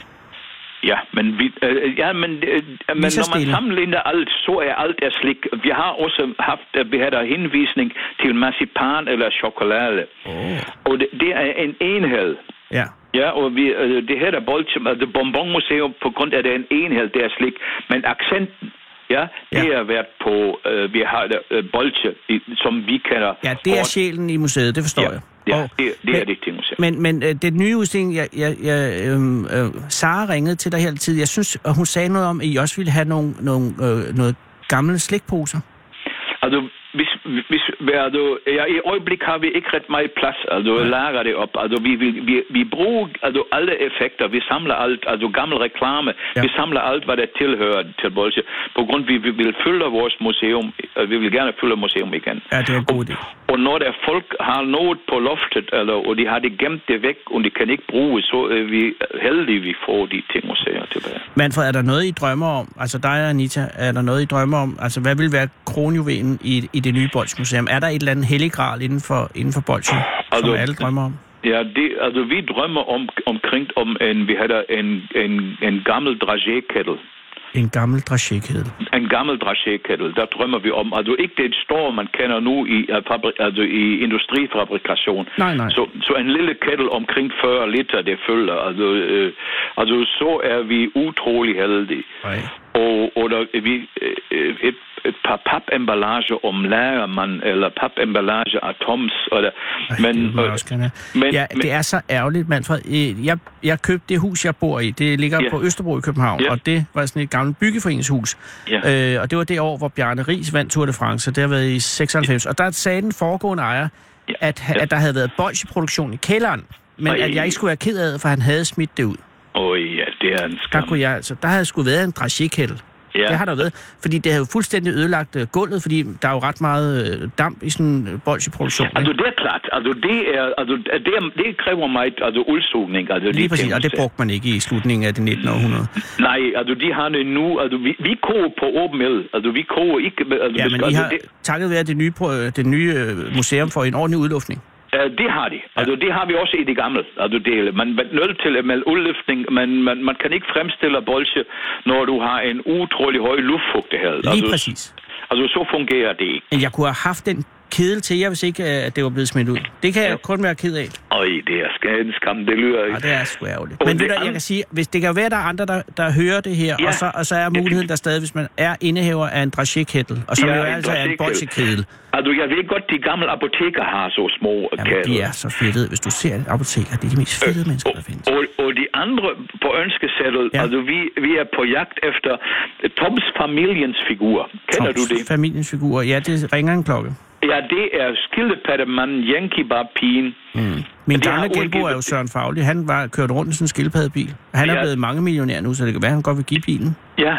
[SPEAKER 4] Ja, men, vi, øh, ja, men, øh, men
[SPEAKER 5] så
[SPEAKER 4] når man
[SPEAKER 5] stille.
[SPEAKER 4] sammenligner alt, så er alt er slik. Vi har også haft, øh, vi havde henvisning til marcipan eller chokolade.
[SPEAKER 5] Åh.
[SPEAKER 4] Og det, det er en enhed.
[SPEAKER 5] Ja.
[SPEAKER 4] Ja, og vi, øh, det her er Bolchum, altså Bonbonmuseum, på grund af, at det er en enhed, det er slik. Men accenten, ja, det
[SPEAKER 5] Ja.
[SPEAKER 4] har været på, øh, vi har øh, bolche, i- som vi kender.
[SPEAKER 5] ja, det er
[SPEAKER 4] over-
[SPEAKER 5] sjælen i museet, det forstår
[SPEAKER 4] Ja,
[SPEAKER 5] jeg.
[SPEAKER 4] ja
[SPEAKER 5] Og-
[SPEAKER 4] det, det er
[SPEAKER 5] men-
[SPEAKER 4] det, det museum.
[SPEAKER 5] Men, men øh, den nye udstilling, jeg, jeg, jeg, øhm, øh, Sara ringede til dig her tid, jeg synes, og hun sagde noget om, at I også ville have nogle, nogle øh, noget gamle slikposer.
[SPEAKER 4] Altså, hvis, hvis, altså, also, ja, i øjeblik har vi ikke ret meget plads, altså ja. lager det op. Altså, vi, vi, vi, vi bruger altså, also, alle effekter, vi samler alt, altså gammel reklame,
[SPEAKER 5] Ja.
[SPEAKER 4] ja. vi samler alt, hvad der tilhører til Bolsje, på grund vi, vi vil fylde vores museum, øh, vi vil gerne fylde museum igen.
[SPEAKER 5] Ja, det er en god idé.
[SPEAKER 4] Og når der folk har noget på loftet, eller, og de har det gemt det væk, og de kan ikke bruge, så er vi heldige, vi får de ting museer tilbage.
[SPEAKER 5] Manfred, er der noget, I drømmer om? Altså dig og Anita, er der noget, I drømmer om? Altså, hvad vil være kronjuvelen i, i det nye Bolsmuseum? Er der et eller andet hellig gral inden for, inden for Bolsen, altså,
[SPEAKER 4] Altså-
[SPEAKER 5] som alle drømmer om?
[SPEAKER 4] Ja, also, det, altså vi drømmer om, omkring om en, vi havde en, en, en gammel dragé-kettle.
[SPEAKER 5] En gammel drachékæde.
[SPEAKER 4] En gammel dragé-kettle, der drømmer vi om. Altså ikke den store, man kender nu i, øh, fabri- altså i industrifabrikation.
[SPEAKER 5] Nej, nej.
[SPEAKER 4] Så, så en lille kettle omkring 40 liter, det følger. Altså, øh, altså så er vi utrolig heldige.
[SPEAKER 5] Nej.
[SPEAKER 4] Og, eller vi, øh, øh, et, et par papemballage om lagermand, eller papemballage af Toms. Eller,
[SPEAKER 5] Men, det vil man
[SPEAKER 4] øh,
[SPEAKER 5] også gerne have. Men,
[SPEAKER 4] men-
[SPEAKER 5] ja,
[SPEAKER 4] men-
[SPEAKER 5] det er så ærgerligt, Manfred. Øh, Jeg, jeg købte det hus, jeg bor i. Det ligger
[SPEAKER 4] Ja.
[SPEAKER 5] på Østerbro i København,
[SPEAKER 4] Ja.
[SPEAKER 5] og det var sådan et gammelt byggeforeningshus.
[SPEAKER 4] Ja.
[SPEAKER 5] Øh, og det var det år, hvor Bjarne Ries vandt Tour de France. Det har været i 96. Og der sagde den foregående ejer,
[SPEAKER 4] Ja.
[SPEAKER 5] at, ha-
[SPEAKER 4] Ja.
[SPEAKER 5] at der havde været bolsjeproduktion i kælderen, men
[SPEAKER 4] Ej.
[SPEAKER 5] at jeg ikke skulle være ked af det, for han havde smidt det ud.
[SPEAKER 4] Åh ja, det er en skam.
[SPEAKER 5] Der, kunne jeg, altså, der havde sgu været en dragékæld.
[SPEAKER 4] Ja.
[SPEAKER 5] Det har der været. Fordi det havde jo fuldstændig ødelagt øh, gulvet, fordi der er jo ret meget øh, damp i sådan en bolsjeproduktion. ikke?
[SPEAKER 4] Altså det er klart, altså det er, altså det, er, det kræver meget, altså udsugning. Altså, de
[SPEAKER 5] Lige præcis,
[SPEAKER 4] ting,
[SPEAKER 5] og det brugte man ikke i slutningen af det 19. århundrede.
[SPEAKER 4] Nej, altså de har det nu, altså vi, vi koger på åben el, altså vi koger ikke, altså,
[SPEAKER 5] Ja,
[SPEAKER 4] hvis-
[SPEAKER 5] men I
[SPEAKER 4] altså,
[SPEAKER 5] har
[SPEAKER 4] det,
[SPEAKER 5] takket være det nye, pro- øh, det nye øh, museum for en ordentlig udluftning.
[SPEAKER 4] øh, det har de, altså det har vi også i det gamle, altså det, man man er nødt til med udløftning, men man, man kan ikke fremstille bolsje, når du har en utrolig høj luftfugtighed.
[SPEAKER 5] Lige præcis.
[SPEAKER 4] Altså så fungerer det ikke.
[SPEAKER 5] Men jeg kunne have haft den kedel til jer, hvis ikke øh, at det var blevet smidt ud. Det kan jeg kun være ked af.
[SPEAKER 4] Øj, det er sk- en skam, det lyder
[SPEAKER 5] Og
[SPEAKER 4] ikke.
[SPEAKER 5] det er sgu ærgerligt.
[SPEAKER 4] Og
[SPEAKER 5] Men
[SPEAKER 4] det
[SPEAKER 5] ved du,
[SPEAKER 4] andet-
[SPEAKER 5] jeg kan sige, hvis det kan jo være, at der er andre, der, der hører det her,
[SPEAKER 4] Ja.
[SPEAKER 5] og, så, og så er muligheden der stadig, hvis man er indehaver af en dragékættel, og som
[SPEAKER 4] Ja,
[SPEAKER 5] jo
[SPEAKER 4] en
[SPEAKER 5] altså er en
[SPEAKER 4] dragékedel.
[SPEAKER 5] bolsjekedel.
[SPEAKER 4] Altså jeg ved godt, de gamle apoteker har så små
[SPEAKER 5] Jamen, de er så fedtede. Hvis du ser en apoteker, det er de mest
[SPEAKER 4] Øh,
[SPEAKER 5] fedtede mennesker, der findes.
[SPEAKER 4] Og, og de andre på ønskesedlet,
[SPEAKER 5] Ja.
[SPEAKER 4] ja. altså vi, vi er på jagt efter Toms familiens figur. Kender
[SPEAKER 5] Toms
[SPEAKER 4] du det?
[SPEAKER 5] Familiens figurer. Ja, det ringer en klokke.
[SPEAKER 4] Ja, det er skildpadtemanden Yankeebar-pigen.
[SPEAKER 5] Mm. Min
[SPEAKER 4] Det har
[SPEAKER 5] gamle
[SPEAKER 4] Ole
[SPEAKER 5] genbo er jo
[SPEAKER 4] Gilbert-
[SPEAKER 5] Søren Fagli. Han var kørt rundt i sådan en skildpaddebil. Han er
[SPEAKER 4] Ja.
[SPEAKER 5] blevet mange millionær nu, så det kan være, han godt vil give bilen.
[SPEAKER 4] Ja.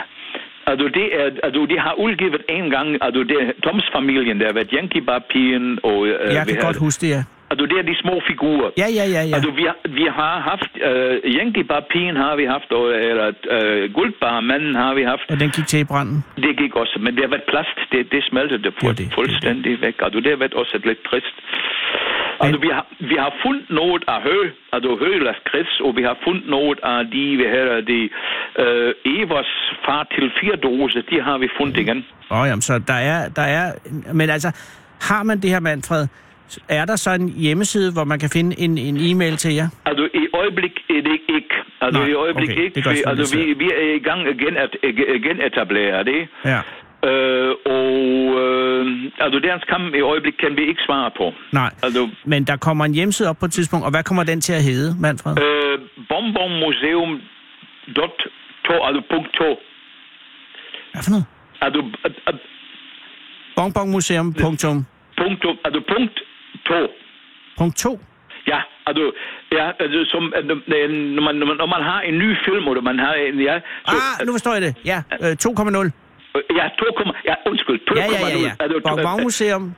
[SPEAKER 4] also Altså, det er, altså, de har udgivet en gang, also altså, det er Toms-familien, der har været Yankeebar-pigen, og... Øh,
[SPEAKER 5] Jeg
[SPEAKER 4] hvad
[SPEAKER 5] kan
[SPEAKER 4] hedder
[SPEAKER 5] godt
[SPEAKER 4] det?
[SPEAKER 5] huske det, ja.
[SPEAKER 4] Altså, det er de små figurer.
[SPEAKER 5] Ja, ja, ja, ja.
[SPEAKER 4] Altså, vi, har- vi har haft, øh, Yankee-bar-pigen har vi haft, og, eller øh, guldbar-manden har vi haft.
[SPEAKER 5] Og den gik til i branden.
[SPEAKER 4] Det gik også, men det har været plast, det, det smeltede det,
[SPEAKER 5] Ja,
[SPEAKER 4] fu-
[SPEAKER 5] det- det- det.
[SPEAKER 4] fuldstændig væk. Altså, det har været også lidt trist. Altså,
[SPEAKER 5] Men-
[SPEAKER 4] vi har, vi har fundet noget af hø, altså hølas kreds, og vi har fundet noget af de, hvad hedder de, øh, Evers far til fire dose, de har vi fundet igen.
[SPEAKER 5] Åh, oh, jamen, så der er, der er... Men altså, har man det her, Manfred, er der så en hjemmeside, hvor man kan finde en, en e-mail til jer?
[SPEAKER 4] Altså Also i øjeblik er det ikke. Altså
[SPEAKER 5] Nej,
[SPEAKER 4] i øjeblik
[SPEAKER 5] okay.
[SPEAKER 4] ikke.
[SPEAKER 5] Det gør
[SPEAKER 4] fordi,
[SPEAKER 5] selvfølgelig
[SPEAKER 4] altså vi, vi er i äh, gang igen at igen- genetablere det.
[SPEAKER 5] Ja.
[SPEAKER 4] Øh, og øh, altså deres kamp i øjeblik kan vi ikke svare på.
[SPEAKER 5] Nej.
[SPEAKER 4] Altså
[SPEAKER 5] Men der kommer en hjemmeside op på et tidspunkt, og hvad kommer den til at hedde, Manfred?
[SPEAKER 4] øh, bonbonmuseum.to, altså punkt to.
[SPEAKER 5] Hvad for noget?
[SPEAKER 4] Altså, øh, øh,
[SPEAKER 5] Bonbonmuseum. Punktum.
[SPEAKER 4] punkt to, altså punkt to.
[SPEAKER 5] Punkt 2.
[SPEAKER 4] Ja, altså, ja, altså som, øh, når, man, når, man, når man har en ny film, eller man har en, ja, så,
[SPEAKER 5] Ah, nu forstår jeg det. Ja, øh, 2,0.
[SPEAKER 4] øh, ja, 2, ja, undskyld, 2,0.
[SPEAKER 5] Ja, ja, ja, ja.
[SPEAKER 4] Altså, to-
[SPEAKER 5] Bonbonmuseum
[SPEAKER 4] eh,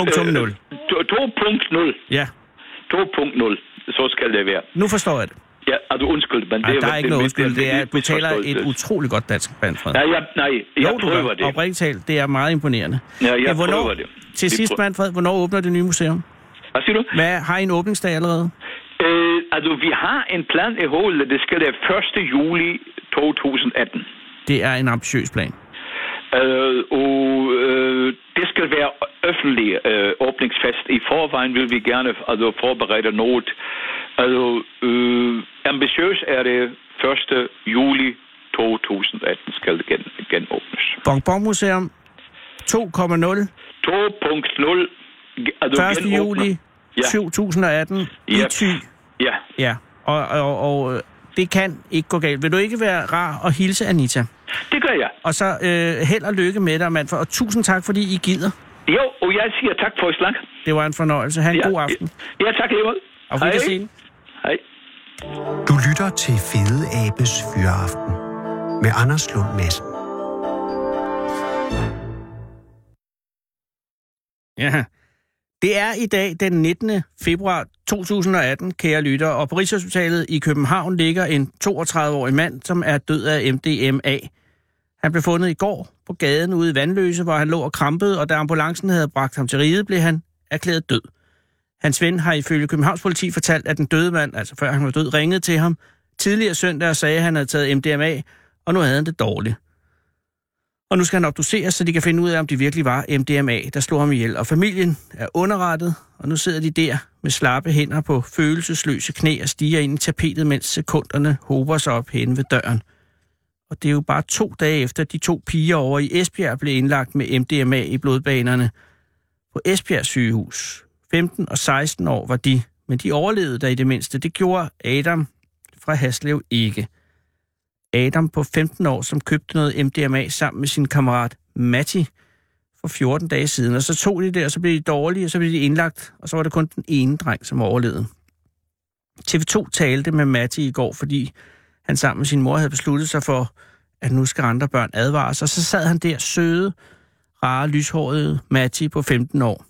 [SPEAKER 4] Øh,
[SPEAKER 5] 2.0.
[SPEAKER 4] 2.0.
[SPEAKER 5] Ja,
[SPEAKER 4] 2.0. Så skal det være.
[SPEAKER 5] nu forstår jeg det.
[SPEAKER 4] Ja, altså undskyld, men
[SPEAKER 5] Ej,
[SPEAKER 4] det
[SPEAKER 5] Ah, der er ikke noget undskyld. Det er, at du taler et
[SPEAKER 4] misforståelse.
[SPEAKER 5] utroligt godt dansk, Manfred.
[SPEAKER 4] Nej, jeg, nej, jeg
[SPEAKER 5] jo, du
[SPEAKER 4] prøver
[SPEAKER 5] gør.
[SPEAKER 4] det.
[SPEAKER 5] Oprigtigt talt, det er meget imponerende.
[SPEAKER 4] Ja, jeg
[SPEAKER 5] hvornår,
[SPEAKER 4] prøver det.
[SPEAKER 5] Til
[SPEAKER 4] Vi
[SPEAKER 5] sidst,
[SPEAKER 4] prøver-
[SPEAKER 5] Manfred, hvornår åbner det nye museum?
[SPEAKER 4] Hvad siger du?
[SPEAKER 5] Hvad, har I en åbningsdag allerede?
[SPEAKER 4] Øh, altså, vi har en plan i hovedet, det skal være 1. juli 2018.
[SPEAKER 5] Det er en ambitiøs plan.
[SPEAKER 4] Øh, og øh, det skal være offentlig øh, åbningsfest. I forvejen vil vi gerne altså, forberede noget. Altså, øh, ambitiøs er det 1. juli 2018 skal det gen, genåbnes.
[SPEAKER 5] Bonbonmuseum 2.0,
[SPEAKER 4] 2.0 ge- altså
[SPEAKER 5] 1.
[SPEAKER 4] genåbner-
[SPEAKER 5] juli
[SPEAKER 4] Ja.
[SPEAKER 5] 2018 i
[SPEAKER 4] Yep.
[SPEAKER 5] Thy.
[SPEAKER 4] Ja,
[SPEAKER 5] Ja, og, og, og øh, det kan ikke gå galt. Vil du ikke være rar og hilse Anita?
[SPEAKER 4] det gør jeg.
[SPEAKER 5] Og så øh, held og lykke med dig, Manfred. Og tusind tak, fordi I gider.
[SPEAKER 4] Jo, og jeg siger tak for i snak.
[SPEAKER 5] Det var en fornøjelse. Ha' en
[SPEAKER 4] Ja,
[SPEAKER 5] god aften.
[SPEAKER 4] Ja, tak lige måde.
[SPEAKER 5] Og Hej.
[SPEAKER 4] Hej.
[SPEAKER 3] Du lytter til Fede Abes Fyraften med Anders Lund Madsen.
[SPEAKER 5] Ja. Det er i dag den 19. februar 2018, kære lytter, og på Rigshospitalet i København ligger en 32-årig mand, som er død af MDMA. Han blev fundet i går på gaden ude i Vandløse, hvor han lå og krampede, og da ambulancen havde bragt ham til riget, blev han erklæret død. Hans ven har ifølge Københavns politi fortalt, at den døde mand, altså før han var død, ringede til ham tidligere søndag og sagde, at han havde taget MDMA, og nu havde han det dårligt. Og nu skal han obduceres, så de kan finde ud af, om det virkelig var MDMA, der slog ham ihjel. Og familien er underrettet, og nu sidder de der med slappe hænder på følelsesløse knæ og stiger ind i tapetet, mens sekunderne hober sig op hen ved døren. Og det er jo bare to dage efter, de to piger over i Esbjerg blev indlagt med MDMA i blodbanerne. På Esbjerg sygehus. 15 og 16 år var de, men de overlevede der i det mindste. Det gjorde Adam fra Haslev ikke. Adam på 15 år, som købte noget MDMA sammen med sin kammerat Matti for 14 dage siden. Og så tog de det, og så blev de dårlige, og så blev de indlagt, og så var det kun den ene dreng, som overlevede. TV2 talte med Matti i går, fordi han sammen med sin mor havde besluttet sig for, at nu skal andre børn advares. Og så sad han der søde, rare, lyshårede Matti på 15 år,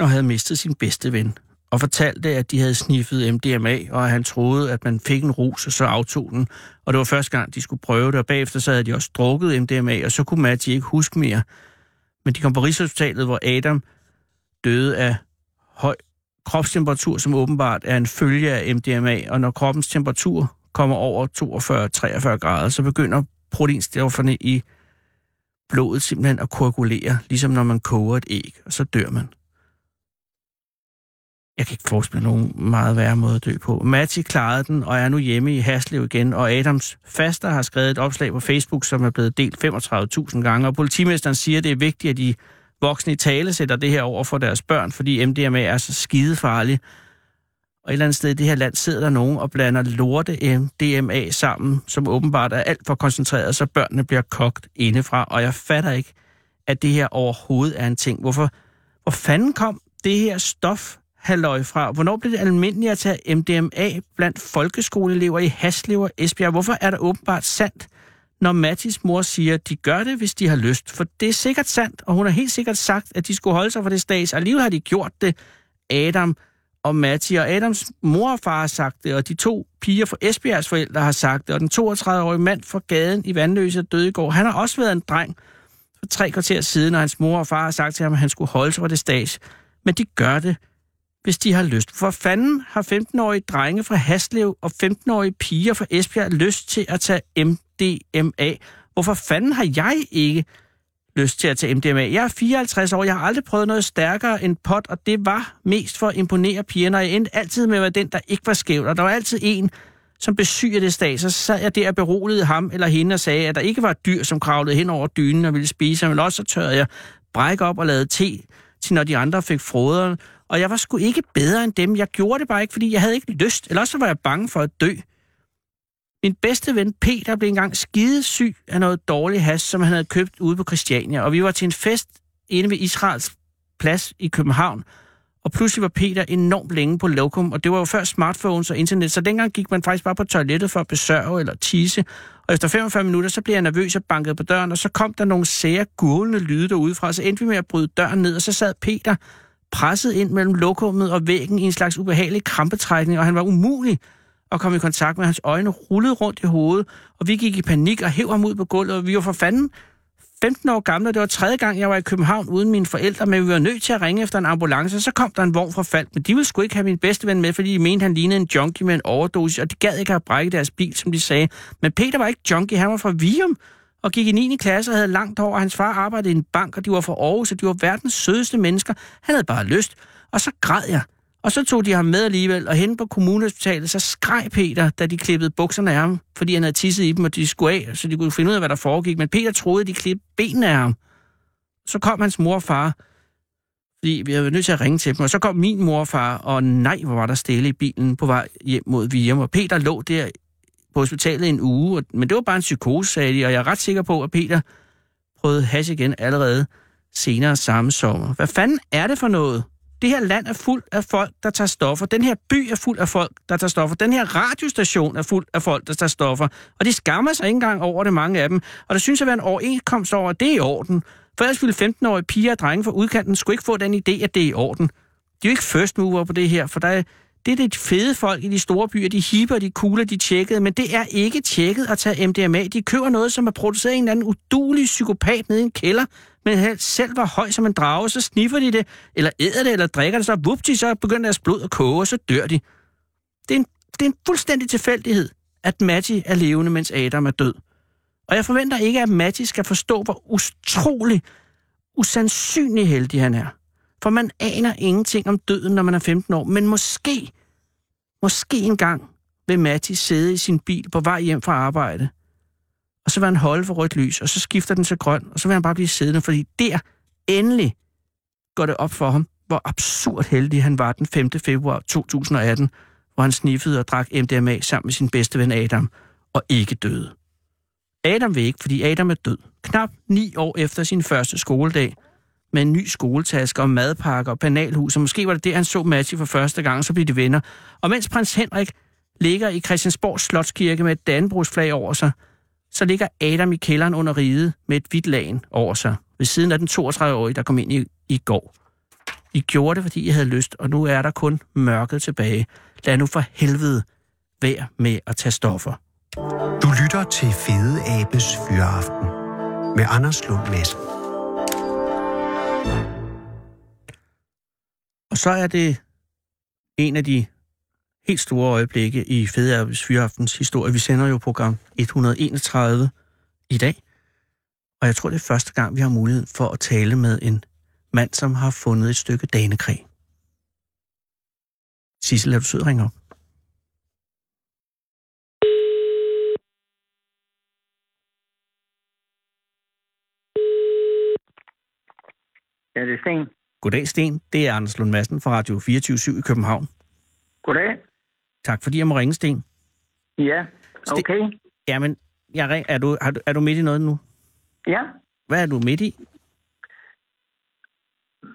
[SPEAKER 5] og havde mistet sin bedste ven og fortalte, at de havde sniffet MDMA, og at han troede, at man fik en rus, og så aftog den. Og det var første gang, de skulle prøve det, og bagefter så havde de også drukket MDMA, og så kunne Matti ikke huske mere. Men de kom på Rigshospitalet, hvor Adam døde af høj kropstemperatur, som åbenbart er en følge af MDMA, og når kroppens temperatur kommer over 42-43 grader, så begynder proteinstofferne i blodet simpelthen at koagulere, ligesom når man koger et æg, og så dør man. Jeg kan ikke forestille mig nogen meget værre måde at dø på. Matti klarede den og er nu hjemme i Haslev igen, og Adams faster har skrevet et opslag på Facebook, som er blevet delt 35.000 gange, og politimesteren siger, at det er vigtigt, at de voksne i tale sætter det her over for deres børn, fordi MDMA er så skidefarlig. Og et eller andet sted i det her land sidder der nogen og blander lorte MDMA sammen, som åbenbart er alt for koncentreret, så børnene bliver kogt indefra, og jeg fatter ikke, at det her overhovedet er en ting. Hvorfor, hvor fanden kom det her stof halløj fra? Hvornår blev det almindeligt at tage MDMA blandt folkeskoleelever i Haslev og Esbjerg? Hvorfor er det åbenbart sandt, når Mattis mor siger, at de gør det, hvis de har lyst? For det er sikkert sandt, og hun har helt sikkert sagt, at de skulle holde sig for det stats. Alligevel har de gjort det, Adam og Matti. Og Adams mor og far har sagt det, og de to piger fra Esbjergs forældre har sagt det, og den 32-årige mand fra gaden i Vandløse er døde i går. Han har også været en dreng for tre kvarter siden, og hans mor og far har sagt til ham, at han skulle holde sig for det stats. Men de gør det, hvis de har lyst. For fanden har 15-årige drenge fra Haslev og 15-årige piger fra Esbjerg lyst til at tage MDMA? Hvorfor fanden har jeg ikke lyst til at tage MDMA? Jeg er 54 år, jeg har aldrig prøvet noget stærkere end pot, og det var mest for at imponere pigerne, og jeg endte altid med at være den, der ikke var skæv, og der var altid en, som besygede det stag, så sad jeg der og beroligede ham eller hende og sagde, at der ikke var et dyr, som kravlede hen over dynen og ville spise ham, men også så tørrede jeg brække op og lavede te til, når de andre fik froderen, og jeg var sgu ikke bedre end dem. Jeg gjorde det bare ikke, fordi jeg havde ikke lyst, eller også så var jeg bange for at dø. Min bedste ven Peter blev engang skidesyg af noget dårlig has, som han havde købt ude på Christiania, og vi var til en fest inde ved Israels plads i København, og pludselig var Peter enormt længe på lokum, og det var jo før smartphones og internet, så dengang gik man faktisk bare på toilettet for at besørge eller tisse. Og efter 45 minutter, så blev jeg nervøs og bankede på døren, og så kom der nogle sære gurlende lyde derudefra, så endte vi med at bryde døren ned, og så sad Peter presset ind mellem lokummet og væggen i en slags ubehagelig krampetrækning, og han var umulig at komme i kontakt med. Hans øjne rullede rundt i hovedet, og vi gik i panik og hæv ham ud på gulvet, og vi var for fanden 15 år gamle, og det var tredje gang, jeg var i København uden mine forældre, men vi var nødt til at ringe efter en ambulance, og så kom der en vogn fra Falk, men de ville sgu ikke have min bedste ven med, fordi de mente, han lignede en junkie med en overdosis, og de gad ikke have brækket deres bil, som de sagde. Men Peter var ikke junkie, han var fra Virum, og gik i 9. klasse og havde langt over, og hans far arbejdede i en bank, og de var fra Aarhus, og de var verdens sødeste mennesker. Han havde bare lyst, og så græd jeg. Og så tog de ham med alligevel, og hen på kommunehospitalet, så skreg Peter, da de klippede bukserne af ham, fordi han havde tisset i dem, og de skulle af, så de kunne finde ud af, hvad der foregik. Men Peter troede, de klippede benene af ham. Så kom hans mor og far, fordi vi var nødt til at ringe til dem. Og så kom min mor og far, og nej, hvor var der stille i bilen på vej hjem mod Virum. Og Peter lå der på hospitalet i en uge, og, men det var bare en psykose, sagde de, og jeg er ret sikker på, at Peter prøvede hash igen allerede senere samme sommer. Hvad fanden er det for noget? Det her land er fuld af folk, der tager stoffer. Den her by er fuld af folk, der tager stoffer. Den her radiostation er fuld af folk, der tager stoffer. Og de skammer sig ikke engang over det, mange af dem. Og der synes at være en overenskomst over, at det er i orden. For ellers ville 15-årige piger og drenge fra udkanten skulle ikke få den idé, at det er i orden. De er jo ikke first mover på det her, for der er, det er det fede folk i de store byer, de hipper, de cooler, de tjekkede, men det er ikke tjekket at tage MDMA. De køber noget, som er produceret af en eller anden udulig psykopat nede i en kælder, men han selv var høj som en drage, så sniffer de det, eller æder det, eller drikker det, så vupti, så begynder deres blod at koge, og så dør de. Det er en, det er en fuldstændig tilfældighed, at Matti er levende, mens Adam er død. Og jeg forventer ikke, at Matti skal forstå, hvor utrolig, usandsynlig heldig han er. For man aner ingenting om døden, når man er 15 år, men måske Måske engang vil Matti sidde i sin bil på vej hjem fra arbejde, og så vil han holde for rødt lys, og så skifter den til grøn, og så vil han bare blive siddende, fordi der endelig går det op for ham, hvor absurd heldig han var den 5. februar 2018, hvor han sniffede og drak MDMA sammen med sin bedste ven Adam, og ikke døde. Adam vil ikke, fordi Adam er død. Knap ni år efter sin første skoledag, med en ny skoletaske og madpakke og penalhus, og måske var det der, han så Matti for første gang, så blev de venner. Og mens prins Henrik ligger i Christiansborg Slotskirke med et dannebrugsflag over sig, så ligger Adam i kælderen under riget med et hvidt lagen over sig, ved siden af den 32-årige, der kom ind i, i går. I gjorde det, fordi I havde lyst, og nu er der kun mørket tilbage. Lad nu for helvede være med at tage stoffer.
[SPEAKER 3] Du lytter til Fede Abes Fyraften med Anders Lund Madsen.
[SPEAKER 5] Og så er det en af de helt store øjeblikke i Fedeabes Fyraftens historie. Vi sender jo program 131 i dag, og jeg tror, det er første gang, vi har mulighed for at tale med en mand, som har fundet et stykke danekræg. Sissel, er du sød at ringe op?
[SPEAKER 6] Ja, det er Sten.
[SPEAKER 5] Goddag, Sten. Det er Anders Lund Madsen fra Radio 24 i København.
[SPEAKER 6] Goddag.
[SPEAKER 5] Tak, fordi jeg må ringe, Sten.
[SPEAKER 6] Ja,
[SPEAKER 5] Sten-
[SPEAKER 6] okay.
[SPEAKER 5] Jamen, jeg ring, er, du, har du, er du midt i noget nu?
[SPEAKER 6] Ja,
[SPEAKER 5] Hvad er du midt i?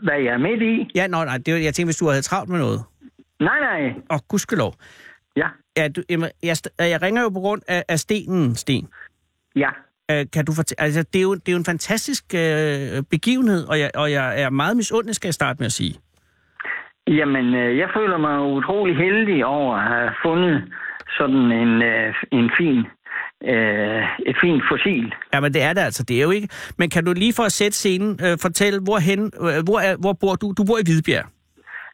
[SPEAKER 6] hvad jeg er midt i.
[SPEAKER 5] Ja, nej, nej, det var, jeg tænkte, hvis du havde travlt med noget.
[SPEAKER 6] Nej, nej.
[SPEAKER 5] Og gudskelov.
[SPEAKER 6] Ja,
[SPEAKER 5] Er du, jamen, jeg, st- jeg ringer jo på grund af, af stenen, Sten.
[SPEAKER 6] ja.
[SPEAKER 5] Øh, Kan du fortæ- altså, det, er jo, det er jo en fantastisk øh, begivenhed, og jeg, og jeg er meget misundelig, skal jeg starte med at sige.
[SPEAKER 6] Jamen, øh, jeg føler mig utrolig heldig over at have fundet sådan en, øh, en fin, øh, et fint fossil.
[SPEAKER 5] Ja, men det er det altså, det er jo ikke. Men kan du lige for at sætte scenen, øh, fortælle, hvorhen, øh, hvor, er, hvor bor du? Du bor i Hvidbjerg.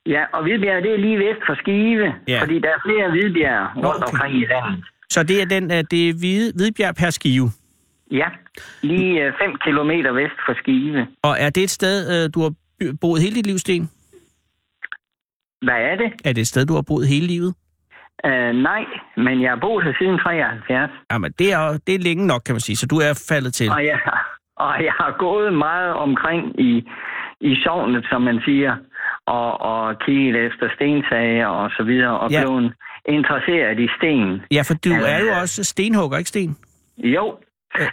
[SPEAKER 6] Ja, og Hvidbjerg, det er lige vest for Skive,
[SPEAKER 5] Ja.
[SPEAKER 6] ja. fordi der er flere Hvidbjerg rundt
[SPEAKER 5] okay.
[SPEAKER 6] omkring i landet.
[SPEAKER 5] Så det er, den, øh, det er Hvide, Hvidbjerg per skive.
[SPEAKER 6] Ja, lige 5 kilometer vest for Skive.
[SPEAKER 5] Og er det et sted, øh, du har by- boet hele dit liv, Sten?
[SPEAKER 6] Hvad er det?
[SPEAKER 5] Er det et sted, du har boet hele livet?
[SPEAKER 6] Øh, nej, men jeg har boet her siden 73,
[SPEAKER 5] Jamen, det er, det er længe nok, kan man sige, så du er faldet til.
[SPEAKER 6] og jeg, og jeg har gået meget omkring i, i sovnet, som man siger, og, og kigget efter stensager og så videre, og
[SPEAKER 5] Ja.
[SPEAKER 6] ja. blevet interesseret i sten.
[SPEAKER 5] Ja, for du
[SPEAKER 6] Ja.
[SPEAKER 5] er jo også stenhugger, ikke Sten?
[SPEAKER 6] Jo,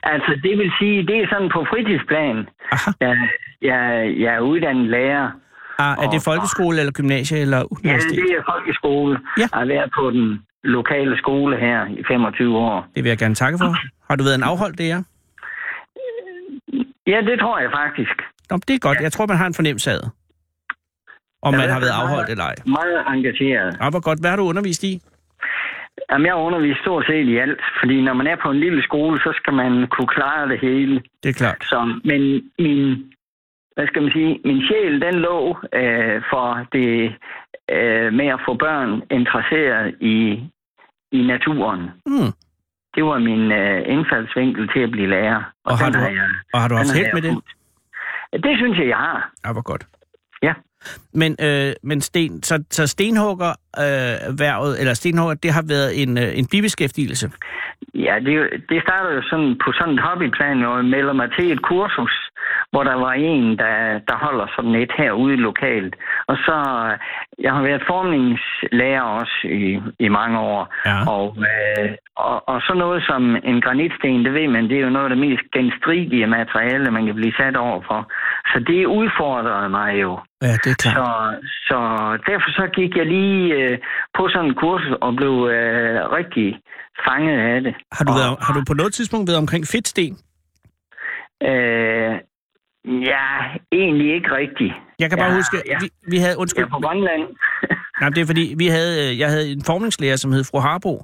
[SPEAKER 6] altså det vil sige, det er sådan på fritidsplan.
[SPEAKER 5] Aha.
[SPEAKER 6] Jeg, jeg, jeg er uddannet lærer.
[SPEAKER 5] Ah, er det folkeskole eller gymnasie eller
[SPEAKER 6] Ja,
[SPEAKER 5] universitet?
[SPEAKER 6] det er folkeskole.
[SPEAKER 5] Ja.
[SPEAKER 6] Jeg har været på den lokale skole her i 25 år.
[SPEAKER 5] Det vil jeg gerne takke for. Har du været en afholdt lærer?
[SPEAKER 6] Ja, det tror jeg faktisk.
[SPEAKER 5] Nå, det er godt. Jeg tror, man har en fornemmelse af, det. om
[SPEAKER 6] Jeg
[SPEAKER 5] man
[SPEAKER 6] ved,
[SPEAKER 5] har været
[SPEAKER 6] at mange-
[SPEAKER 5] afholdt eller ej.
[SPEAKER 6] Meget engageret.
[SPEAKER 5] Ah, hvor godt. Hvad har du undervist i?
[SPEAKER 6] Jamen, jeg underviser stort set i alt, fordi når man er på en lille skole, så skal man kunne klare det hele.
[SPEAKER 5] Det er klart.
[SPEAKER 6] Så, men min, hvad skal man sige, min sjæl, den lå øh, for det øh, med at få børn interesseret i, i naturen.
[SPEAKER 5] Mm.
[SPEAKER 6] Det var min øh, indfaldsvinkel til at blive lærer.
[SPEAKER 5] Og har
[SPEAKER 6] den
[SPEAKER 5] du-
[SPEAKER 6] jeg,
[SPEAKER 5] Og har du
[SPEAKER 6] den
[SPEAKER 5] haft
[SPEAKER 6] har
[SPEAKER 5] held
[SPEAKER 6] jeg
[SPEAKER 5] med det?
[SPEAKER 6] fulgt. Det synes jeg, jeg har.
[SPEAKER 5] Ah, hvor godt.
[SPEAKER 6] Ja.
[SPEAKER 5] Men, øh, men sten, så, så stenhugger, øh, været, eller stenhugger, det har været en, øh, en bibeskæftigelse.
[SPEAKER 6] Ja, det, er jo- det starter jo sådan på sådan et hobbyplan, og jeg melder mig til et kursus, hvor der var en, der, der holder sådan et herude lokalt. Og så, øh, jeg har været formningslærer også i, i mange år.
[SPEAKER 5] Ja.
[SPEAKER 6] Og, øh, og, og så noget som en granitsten, det ved man, det er jo noget af det mest genstridige materiale, man kan blive sat over for. Så det udfordrede mig jo.
[SPEAKER 5] Ja, det er klart.
[SPEAKER 6] Så, så derfor så gik jeg lige øh, på sådan en kursus og blev øh, rigtig fanget af det.
[SPEAKER 5] Har du, været, har du på noget tidspunkt været omkring fedtsten?
[SPEAKER 6] Øh, ja, egentlig ikke rigtigt.
[SPEAKER 5] Jeg kan bare
[SPEAKER 6] Ja,
[SPEAKER 5] huske,
[SPEAKER 6] ja.
[SPEAKER 5] vi, vi havde,
[SPEAKER 6] Jeg
[SPEAKER 5] undskyld,
[SPEAKER 6] er på Grønland.
[SPEAKER 5] Nej, men det er fordi, vi havde, øh, jeg havde en formningslærer, som hed fru Harbo,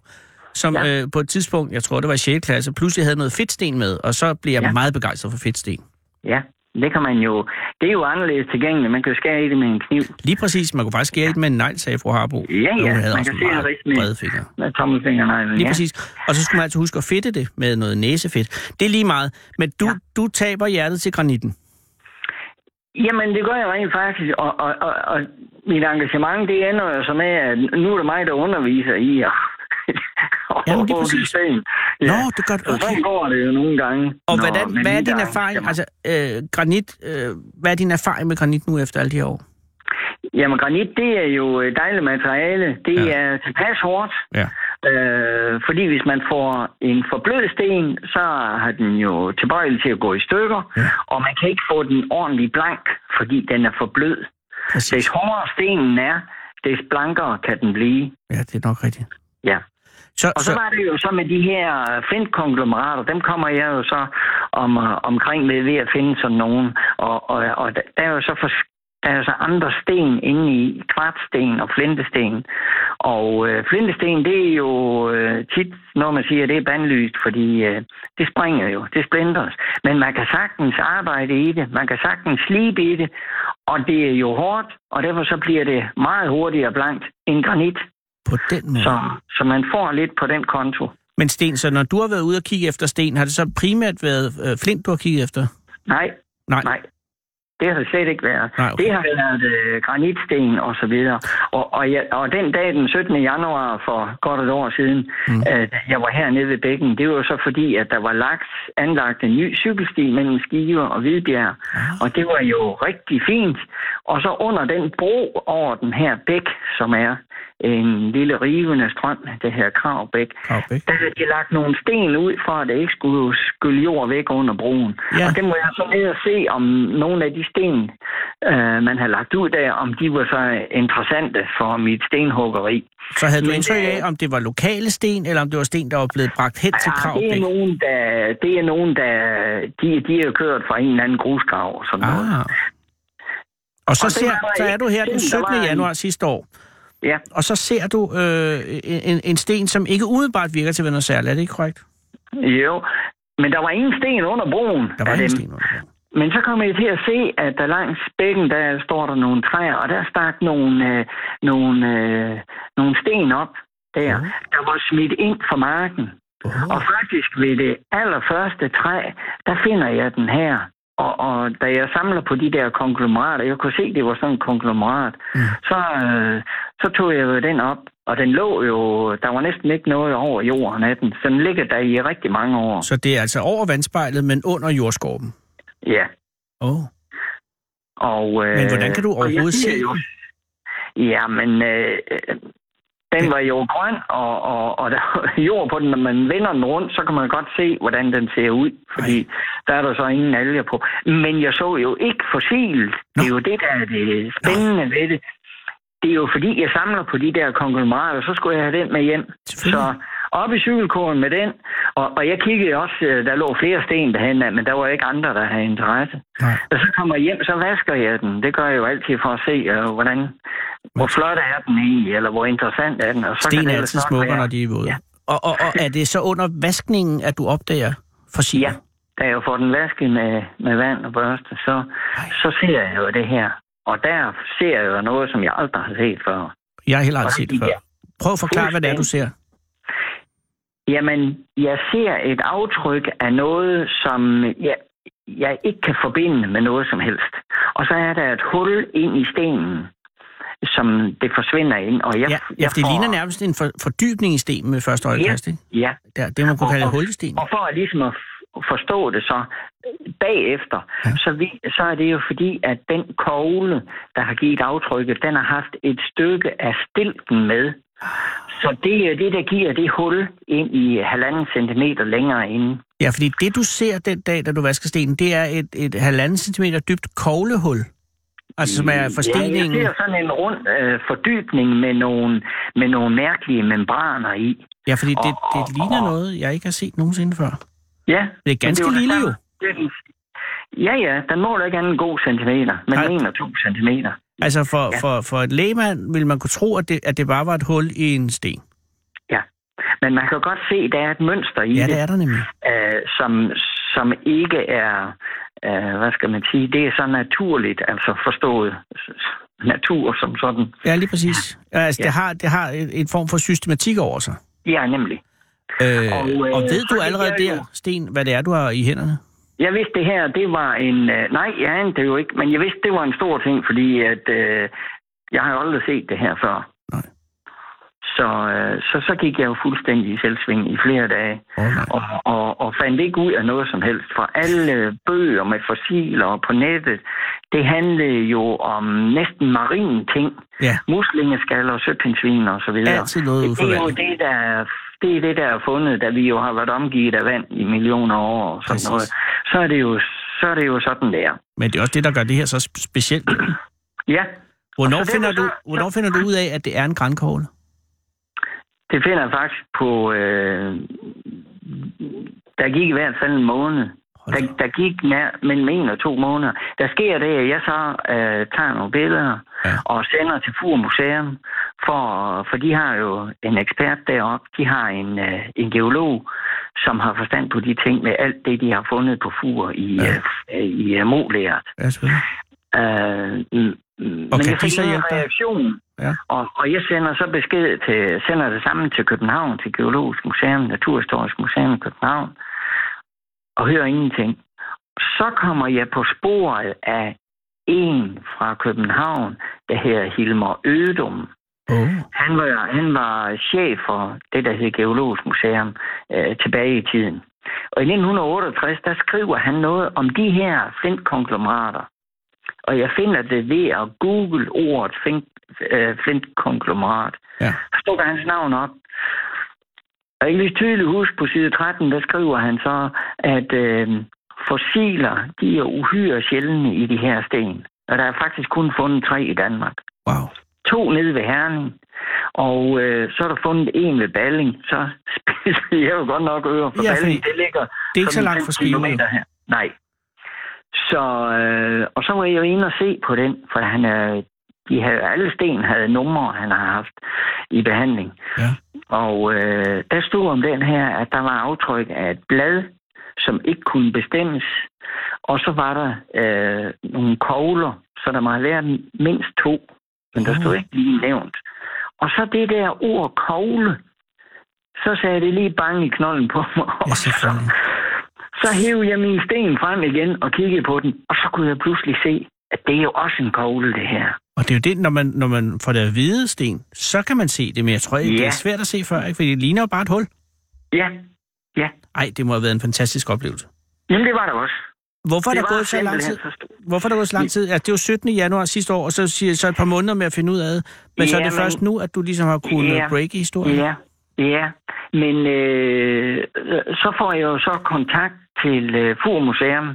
[SPEAKER 5] som ja.
[SPEAKER 6] Ja.
[SPEAKER 5] øh, på et tidspunkt, jeg tror det var i 6. klasse, pludselig havde noget fedtsten med, og så blev jeg ja.
[SPEAKER 6] Ja.
[SPEAKER 5] meget begejstret for fedtsten.
[SPEAKER 6] ja, det kan man jo. Det er jo anderledes tilgængeligt. Man kan jo skære i det med en kniv.
[SPEAKER 5] Lige præcis, man kunne faktisk skære ja. et med en negl, sagde fru Harbo.
[SPEAKER 6] Ja, ja,
[SPEAKER 5] Og hun havde
[SPEAKER 6] man
[SPEAKER 5] også
[SPEAKER 6] kan se det
[SPEAKER 5] meget
[SPEAKER 6] rigtig med-
[SPEAKER 5] brede fingre.
[SPEAKER 6] Med tommelfingerneglen,
[SPEAKER 5] Lige ja.
[SPEAKER 6] ja.
[SPEAKER 5] præcis. Og så skulle man altså huske at fedte det med noget næsefedt. Det er lige meget. Men du, ja.
[SPEAKER 6] Ja.
[SPEAKER 5] du taber hjertet til granitten.
[SPEAKER 6] Jamen, det gør jeg rent faktisk, og, og, og, og mit engagement, det ender jo så med, at nu er det mig, der underviser i at
[SPEAKER 5] Jamen, lige
[SPEAKER 6] overvåge
[SPEAKER 5] præcis.
[SPEAKER 6] sten.
[SPEAKER 5] Nå, det gør du.
[SPEAKER 6] Så
[SPEAKER 5] Okay.
[SPEAKER 6] sådan går det jo nogle gange.
[SPEAKER 5] Og
[SPEAKER 6] når
[SPEAKER 5] hvordan,
[SPEAKER 6] man
[SPEAKER 5] hvad er
[SPEAKER 6] lige
[SPEAKER 5] din
[SPEAKER 6] er
[SPEAKER 5] erfaring,
[SPEAKER 6] engageret.
[SPEAKER 5] altså øh, granit, øh, hvad er din erfaring med granit nu efter alle de her år?
[SPEAKER 6] Jamen, granit, det er jo et dejligt materiale. Det
[SPEAKER 5] Ja.
[SPEAKER 6] ja. er tilpas hårdt,
[SPEAKER 5] Ja.
[SPEAKER 6] øh, fordi hvis man får en forblød sten, så har den jo tilbøjelig til at gå i stykker,
[SPEAKER 5] Ja.
[SPEAKER 6] ja. og man kan ikke få den ordentlig blank, fordi den er for blød.
[SPEAKER 5] Præcis.
[SPEAKER 6] Des hårdere stenen er, des blankere kan den blive.
[SPEAKER 5] Ja, det er nok rigtigt.
[SPEAKER 6] Ja.
[SPEAKER 5] Så,
[SPEAKER 6] Og så var det jo så med de her flintkonglomerater, dem kommer jeg jo så om, øh, omkring med ved at finde sådan nogen. Og, og, og der er jo så for, der er jo så andre sten inde i kvartsten og flintesten. Og øh, flintesten, det er jo øh, tit, når man siger, det er bandlyst, fordi øh, det springer jo, det splinters. Men man kan sagtens arbejde i det, man kan sagtens slibe i det, og det er jo hårdt, og derfor så bliver det meget hurtigere blankt end granit.
[SPEAKER 5] på den måde.
[SPEAKER 6] Så, så man får lidt på den konto.
[SPEAKER 5] Men Sten, så når du har været ude og kigge efter sten, har det så primært været øh, flint, du har kigget efter?
[SPEAKER 6] Nej,
[SPEAKER 5] Nej.
[SPEAKER 6] nej. Det har det slet ikke været.
[SPEAKER 5] Nej, okay.
[SPEAKER 6] Det har været øh, granitsten og så videre. Og, og, jeg, og den dag, den 17. januar for godt et år siden, mm. øh, jeg var hernede ved bækken, det var jo så fordi, at der var lagt, anlagt en ny cykelsti mellem Skive og Hvidbjerg.
[SPEAKER 5] Ah.
[SPEAKER 6] Og det var jo rigtig fint. Og så under den bro over den her bæk, som er en lille rivende strøm, det her Kravbæk,
[SPEAKER 5] Kravbæk.
[SPEAKER 6] der havde de lagt nogle sten ud, for at det ikke skulle skylle jord væk under broen.
[SPEAKER 5] Ja.
[SPEAKER 6] Ja. Og det må jeg så ned og se, om nogle af de sten, øh, man har lagt ud der, om de var så interessante for mit stenhuggeri.
[SPEAKER 5] Så havde du
[SPEAKER 6] Men,
[SPEAKER 5] indtryk af,
[SPEAKER 6] øh,
[SPEAKER 5] om det var lokale sten, eller om det var sten, der var blevet bragt hen til
[SPEAKER 6] Ja, det er
[SPEAKER 5] Kravbæk?
[SPEAKER 6] nogen, der, det er nogen, der de, de er jo kørt fra en eller anden grusgrav. og Sådan noget.
[SPEAKER 5] Ah. Og så,
[SPEAKER 6] Og den
[SPEAKER 5] ser,
[SPEAKER 6] var
[SPEAKER 5] så er
[SPEAKER 6] ikke-
[SPEAKER 5] du her den
[SPEAKER 6] den, der
[SPEAKER 5] 17.
[SPEAKER 6] var en-
[SPEAKER 5] januar sidste år,
[SPEAKER 6] Ja,
[SPEAKER 5] og så ser du øh, en, en sten, som ikke umiddelbart virker til at være noget særligt. Er det ikke korrekt?
[SPEAKER 6] jo. Men der var ingen sten under broen.
[SPEAKER 5] Der var
[SPEAKER 6] af
[SPEAKER 5] ingen
[SPEAKER 6] dem.
[SPEAKER 5] sten under den.
[SPEAKER 6] Men så kom jeg til at se, at der langs bækken, der står der nogle træer, og der stak nogle, øh, nogle, øh, nogle sten op der,
[SPEAKER 5] Mhm.
[SPEAKER 6] der var smidt ind fra marken.
[SPEAKER 5] Åh.
[SPEAKER 6] Og
[SPEAKER 3] Mm.
[SPEAKER 6] faktisk ved det allerførste træ, der finder jeg den her. Og, og da jeg samler på de der konglomerater, jeg kunne se, det var sådan en konglomerat,
[SPEAKER 5] Mm.
[SPEAKER 6] mm. så, øh, så tog jeg jo den op. Og den lå jo, der var næsten ikke noget over jorden af den. Så den ligger der i rigtig mange år.
[SPEAKER 5] Så det er altså over vandspejlet, men under jordskorpen.
[SPEAKER 6] Ja.
[SPEAKER 5] Oh.
[SPEAKER 6] Og, øh,
[SPEAKER 5] Men hvordan kan du
[SPEAKER 6] og jeg
[SPEAKER 5] overhovedet
[SPEAKER 6] siger
[SPEAKER 5] se
[SPEAKER 6] jo-
[SPEAKER 5] den?
[SPEAKER 6] Jamen, øh, øh, den var jo grøn, og, og, og der var jord på den. Når man vender den rundt, så kan man godt se, hvordan den ser ud. Fordi Ej. der er der så ingen alger på. Men jeg så jo ikke fossilt. Det er jo det, der er det spændende ved det. Det er jo fordi, jeg samler på de der konglomerater, så skulle jeg have den med hjem.
[SPEAKER 5] Selvfølgelig.
[SPEAKER 6] Så op i cykelkurven med den. Og, og jeg kiggede også, øh, der lå flere sten derhen, men der var ikke andre, der havde interesse.
[SPEAKER 5] Nej.
[SPEAKER 6] Og så kommer jeg hjem, så vasker jeg den. Det gør jeg jo altid for at se, øh, hvordan, hvor flot er den egentlig, eller hvor interessant er den. Og så kan
[SPEAKER 5] Sten
[SPEAKER 6] det
[SPEAKER 5] er
[SPEAKER 6] ellers
[SPEAKER 5] altid
[SPEAKER 6] nok
[SPEAKER 5] smukkere,
[SPEAKER 6] være-
[SPEAKER 5] når de er våde.
[SPEAKER 6] Ja.
[SPEAKER 5] Og, og, og er det så under vaskningen, at du opdager fossiler?
[SPEAKER 6] Ja, da jeg får den vasket med, med vand og børste, så, så ser jeg jo det her. Og der ser jeg jo noget, som jeg aldrig har set før.
[SPEAKER 5] Jeg har heller aldrig
[SPEAKER 6] Og
[SPEAKER 5] set
[SPEAKER 6] de
[SPEAKER 5] det før.
[SPEAKER 6] der-
[SPEAKER 5] Prøv at forklare, hvad det er, du ser.
[SPEAKER 6] Jamen, jeg ser et aftryk af noget, som jeg, jeg ikke kan forbinde med noget som helst. Og så er der et hul ind i stenen, som det forsvinder ind. Og jeg,
[SPEAKER 5] Ja, ja,
[SPEAKER 6] jeg
[SPEAKER 5] for det
[SPEAKER 6] får-
[SPEAKER 5] ligner nærmest en for, fordybning i stenen med første øjekast, ikke?
[SPEAKER 6] Ja,
[SPEAKER 5] Der, det, man kunne kalde et
[SPEAKER 6] Og-
[SPEAKER 5] hul i stenen.
[SPEAKER 6] Og for at ligesom at f- forstå det så øh, bagefter, ja. så, vi, så er det jo fordi, at den kogle, der har givet aftrykket, den har haft et stykke af stilken med. Så det er det, der giver det hul ind i halvanden centimeter længere inde.
[SPEAKER 5] Ja, fordi det, du ser den dag, da du vasker stenen, det er et, et halvanden centimeter dybt koglehul. Altså, som er forsteningen.
[SPEAKER 6] Ja, jeg ser sådan en rund øh, fordybning med nogle, med nogle mærkelige membraner i.
[SPEAKER 5] Ja, fordi det,
[SPEAKER 6] Og-
[SPEAKER 5] det
[SPEAKER 6] og-
[SPEAKER 5] ligner
[SPEAKER 6] og-
[SPEAKER 5] noget, jeg ikke har set nogensinde før.
[SPEAKER 6] Ja.
[SPEAKER 5] Det er
[SPEAKER 6] men
[SPEAKER 5] ganske
[SPEAKER 6] var det
[SPEAKER 5] lille
[SPEAKER 6] samme.
[SPEAKER 5] jo.
[SPEAKER 6] Det er den- Ja, ja, den måler ikke andet en god centimeter, men
[SPEAKER 5] Nej.
[SPEAKER 6] en eller to centimeter.
[SPEAKER 5] Altså, for,
[SPEAKER 6] Ja.
[SPEAKER 5] for, for et lægemand ville man kunne tro, at det, at det bare var et hul i en sten.
[SPEAKER 6] Men man kan godt se, at der er et mønster i
[SPEAKER 5] Ja, det
[SPEAKER 6] det,
[SPEAKER 5] er der nemlig.
[SPEAKER 6] øh, som, som ikke er, øh, hvad skal man sige, det er så naturligt, altså forstået s- s- natur som sådan.
[SPEAKER 5] Ja, lige præcis. Altså,
[SPEAKER 6] Ja.
[SPEAKER 5] det har, det har en en form for systematik over sig.
[SPEAKER 6] Ja, nemlig.
[SPEAKER 5] Øh, og,
[SPEAKER 6] Og, øh,
[SPEAKER 5] og ved
[SPEAKER 6] så
[SPEAKER 5] du
[SPEAKER 6] det
[SPEAKER 5] allerede
[SPEAKER 6] er jo-
[SPEAKER 5] der, Sten, hvad det er, du har i hænderne?
[SPEAKER 6] Jeg vidste det her, det var en, øh, nej, jeg anede det jo ikke, men jeg vidste, det var en stor ting, fordi at, øh, jeg har jo aldrig set det her før.
[SPEAKER 5] Nej.
[SPEAKER 6] Så, øh, så, så gik jeg jo fuldstændig i selvsving i flere dage.
[SPEAKER 5] Oh, nej.
[SPEAKER 6] og, og, og fandt ikke ud af noget som helst. For alle bøger med fossiler og på nettet, det handlede jo om næsten marine ting.
[SPEAKER 5] Ja.
[SPEAKER 6] Muslingeskaller, søpindsvin og så videre.
[SPEAKER 5] Altid noget
[SPEAKER 6] det, det er jo
[SPEAKER 5] uforvandet.
[SPEAKER 6] det, der er, det er det, der er fundet, da vi jo har været omgivet af vand i millioner år og sådan
[SPEAKER 5] Præcis.
[SPEAKER 6] noget. Så er det jo, så er det jo sådan, det er.
[SPEAKER 5] Men det er også det, der gør det her så sp- specielt.
[SPEAKER 6] Ja,
[SPEAKER 5] Hvornår
[SPEAKER 6] Og så
[SPEAKER 5] finder,
[SPEAKER 6] derfor
[SPEAKER 5] du,
[SPEAKER 6] så-
[SPEAKER 5] hvornår finder du ud af, at det er en grænkogle?
[SPEAKER 6] det finder jeg faktisk på... Øh, der gik i hvert fald en måned,
[SPEAKER 5] Hold
[SPEAKER 6] Der,
[SPEAKER 5] da op.
[SPEAKER 6] der gik nær, mellem en og to måneder. Der sker det, at jeg så øh, tager nogle billeder
[SPEAKER 5] Ja.
[SPEAKER 6] ja. og sender til Fur Museum, for, for de har jo en ekspert deroppe. De har en, øh, en geolog, som har forstand på de ting med alt det, de har fundet på Fur i,
[SPEAKER 5] Ja.
[SPEAKER 6] ja. øh, i uh, Molæret.
[SPEAKER 5] Ja, selvfølgelig.
[SPEAKER 6] Øh, mm, mm, men
[SPEAKER 5] kan
[SPEAKER 6] jeg
[SPEAKER 5] de
[SPEAKER 6] fik
[SPEAKER 5] så
[SPEAKER 6] ingen
[SPEAKER 5] hjælpe dig?
[SPEAKER 6] reaktion.
[SPEAKER 5] Ja.
[SPEAKER 6] Og, og jeg sender så besked til, sender det samme til København, til Geologisk Museum, Naturhistorisk Museum i København, og hører ingenting. Så kommer jeg på sporet af en fra København, der hedder Hilmar Ødum.
[SPEAKER 5] Oh.
[SPEAKER 6] Han var, han var chef for det, der hed Geologisk Museum øh, tilbage i tiden. Og i 1968, der skriver han noget om de her flintkonglomerater. Og jeg finder det ved at google ordet flint, øh, flintkonglomerat.
[SPEAKER 5] Ja.
[SPEAKER 6] Så dukker hans navn op. Og jeg kan lige tydeligt huske på side 13, der skriver han så, at øh, fossiler, de er uhyre sjældne i de her sten. Og der er faktisk kun fundet tre i Danmark.
[SPEAKER 5] Wow.
[SPEAKER 6] To nede ved Herning, og øh, så er der fundet en ved Balling. Så spiser jeg jo godt nok ører for
[SPEAKER 5] Ja,
[SPEAKER 6] ja,
[SPEAKER 5] fordi
[SPEAKER 6] Balling. Det ligger
[SPEAKER 5] Det er ikke så
[SPEAKER 6] sådan
[SPEAKER 5] langt
[SPEAKER 6] 5
[SPEAKER 5] fra Skive.
[SPEAKER 6] kilometer Her. Nej. Så, øh, og så var jeg jo inde og se på den, for han er, de havde, alle sten havde numre, han har haft i behandling.
[SPEAKER 5] Ja.
[SPEAKER 6] Og øh, der stod om den her, at der var aftryk af et blad, som ikke kunne bestemmes. Og så var der øh, nogle kogler, så der må have været mindst to, men der stod ikke lige nævnt. Og så det der ord kogle, så sagde det lige bang i knolden på mig.
[SPEAKER 5] Ja, selvfølgelig.
[SPEAKER 6] Så hævde jeg min sten frem igen og kiggede på den, og så kunne jeg pludselig se, at det er jo også en kogle, det her.
[SPEAKER 5] Og det er jo det, når man, når man får det at vide, Sten, så kan man se det, men jeg tror, ja. det
[SPEAKER 6] Ja.
[SPEAKER 5] er svært at se før, ikke? fordi det ligner jo bare et hul.
[SPEAKER 6] Ja, ja.
[SPEAKER 5] Ej, det må have været en fantastisk oplevelse.
[SPEAKER 6] Jamen, det var der også.
[SPEAKER 5] Hvorfor er
[SPEAKER 6] det
[SPEAKER 5] der
[SPEAKER 6] var
[SPEAKER 5] gået så lang tid?
[SPEAKER 6] simpelthen så stort.
[SPEAKER 5] Hvorfor er der gået så lang tid? Altså, det er jo 17. januar sidste år, og så siger så et par måneder med at finde ud af det. Men så er det
[SPEAKER 6] Jamen-
[SPEAKER 5] først nu, at du ligesom har kunnet
[SPEAKER 6] Ja.
[SPEAKER 5] breake historien.
[SPEAKER 6] Ja, ja. Men øh, så får jeg jo så kontakt til øh, Fur Museum.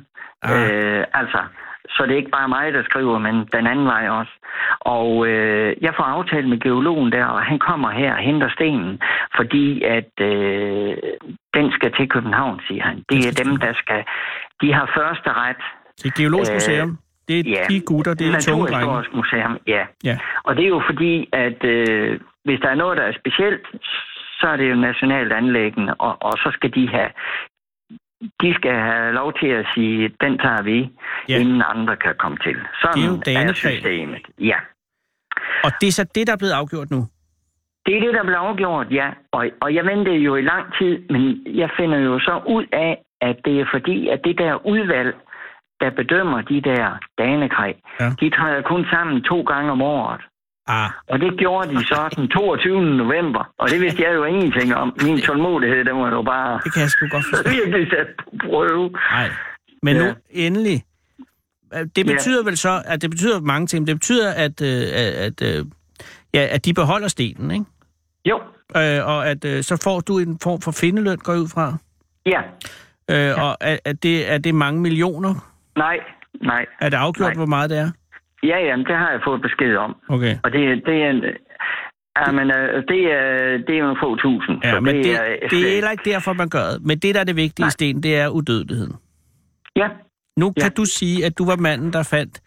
[SPEAKER 5] Ah.
[SPEAKER 6] Øh, altså, så det er ikke bare mig, der skriver, men den anden vej også. Og øh, jeg får aftalt med geologen der, og han kommer her og henter stenen, fordi at øh, den skal til København, siger han. Det er dem, der skal... De har første ret.
[SPEAKER 5] Det er Geologisk
[SPEAKER 6] Øh,
[SPEAKER 5] Museum. Det er
[SPEAKER 6] ja.
[SPEAKER 5] de gutter, det er de tunge drenge.
[SPEAKER 6] Naturhistorisk museum, ja.
[SPEAKER 5] Ja.
[SPEAKER 6] Og det er jo fordi, at øh, hvis der er noget, der er specielt, så er det jo nationalt anlæggende, og, og så skal de have de skal have lov til at sige, den tager vi,
[SPEAKER 5] Ja.
[SPEAKER 6] ja. inden andre kan komme til.
[SPEAKER 5] Det er jo
[SPEAKER 6] Sådan er
[SPEAKER 5] danefag.
[SPEAKER 6] systemet. Ja.
[SPEAKER 5] Og det er så det, der er blevet afgjort nu.
[SPEAKER 6] Det er det, der blev afgjort, ja. Og, og jeg ventede jo i lang tid, men jeg finder jo så ud af, at det er fordi, at det der udvalg, der bedømmer de der danekræ,
[SPEAKER 5] Ja.
[SPEAKER 6] ja. de træder kun sammen to gange om året.
[SPEAKER 5] Ah,
[SPEAKER 6] Og det gjorde de så den 22. november, og det vidste jeg jo ingenting om. Min tålmodighed, den var jo bare
[SPEAKER 5] det kan jeg sgu godt forstå.
[SPEAKER 6] virkelig sat på prøve.
[SPEAKER 5] Nej. Men
[SPEAKER 6] Ja.
[SPEAKER 5] nu, endelig. Øh, Det
[SPEAKER 6] Ja.
[SPEAKER 5] betyder vel så, at det betyder mange ting. Det betyder, at, øh, at, øh, ja, at de beholder stenen, ikke?
[SPEAKER 6] Jo,
[SPEAKER 5] Øh, og at øh, så får du en form for findeløn, går jeg ud fra.
[SPEAKER 6] ja,
[SPEAKER 5] Øh, ja. Og er, er, det, er det mange millioner?
[SPEAKER 6] nej, nej.
[SPEAKER 5] Er det afgjort,
[SPEAKER 6] Nej.
[SPEAKER 5] hvor meget det er?
[SPEAKER 6] Ja, jamen, det har jeg fået besked om.
[SPEAKER 5] Okay.
[SPEAKER 6] Og det, er- det er en... Ja, men øh, det er, det er jo en få tusind.
[SPEAKER 5] Ja,
[SPEAKER 6] så
[SPEAKER 5] men det, det,
[SPEAKER 6] er- øh,
[SPEAKER 5] er heller ikke derfor, man gør det. Men det, der er det vigtige, Nej. Sten, det er udødeligheden.
[SPEAKER 6] Ja,
[SPEAKER 5] Nu kan
[SPEAKER 6] Ja.
[SPEAKER 5] du sige, at du var manden, der fandt...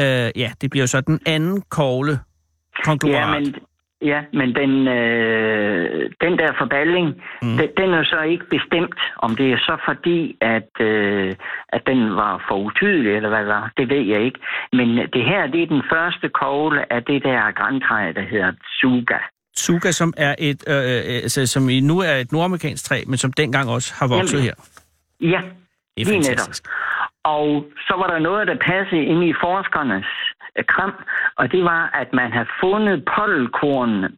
[SPEAKER 5] Øh, ja, det bliver jo så den anden kogle
[SPEAKER 6] ja,
[SPEAKER 5] konglomerat.
[SPEAKER 6] men, ja, men den, øh, den der forballing, mm. den, den er jo så ikke bestemt, om det er så fordi, at, øh, at den var for utydelig, eller hvad det var, det ved jeg ikke. Men det her, det er den første kogle af det der grantræ, der hedder Tsuga.
[SPEAKER 5] Suga, som er et, øh, øh, altså, som i nu er et nordamerikansk træ, men som dengang også har vokset
[SPEAKER 6] Jamen,
[SPEAKER 5] her.
[SPEAKER 6] Ja,
[SPEAKER 5] Det er
[SPEAKER 6] lige
[SPEAKER 5] fantastisk.
[SPEAKER 6] netop. Og så var der noget, der passede ind i forskernes øh, kram, og det var, at man havde fundet pollenkornene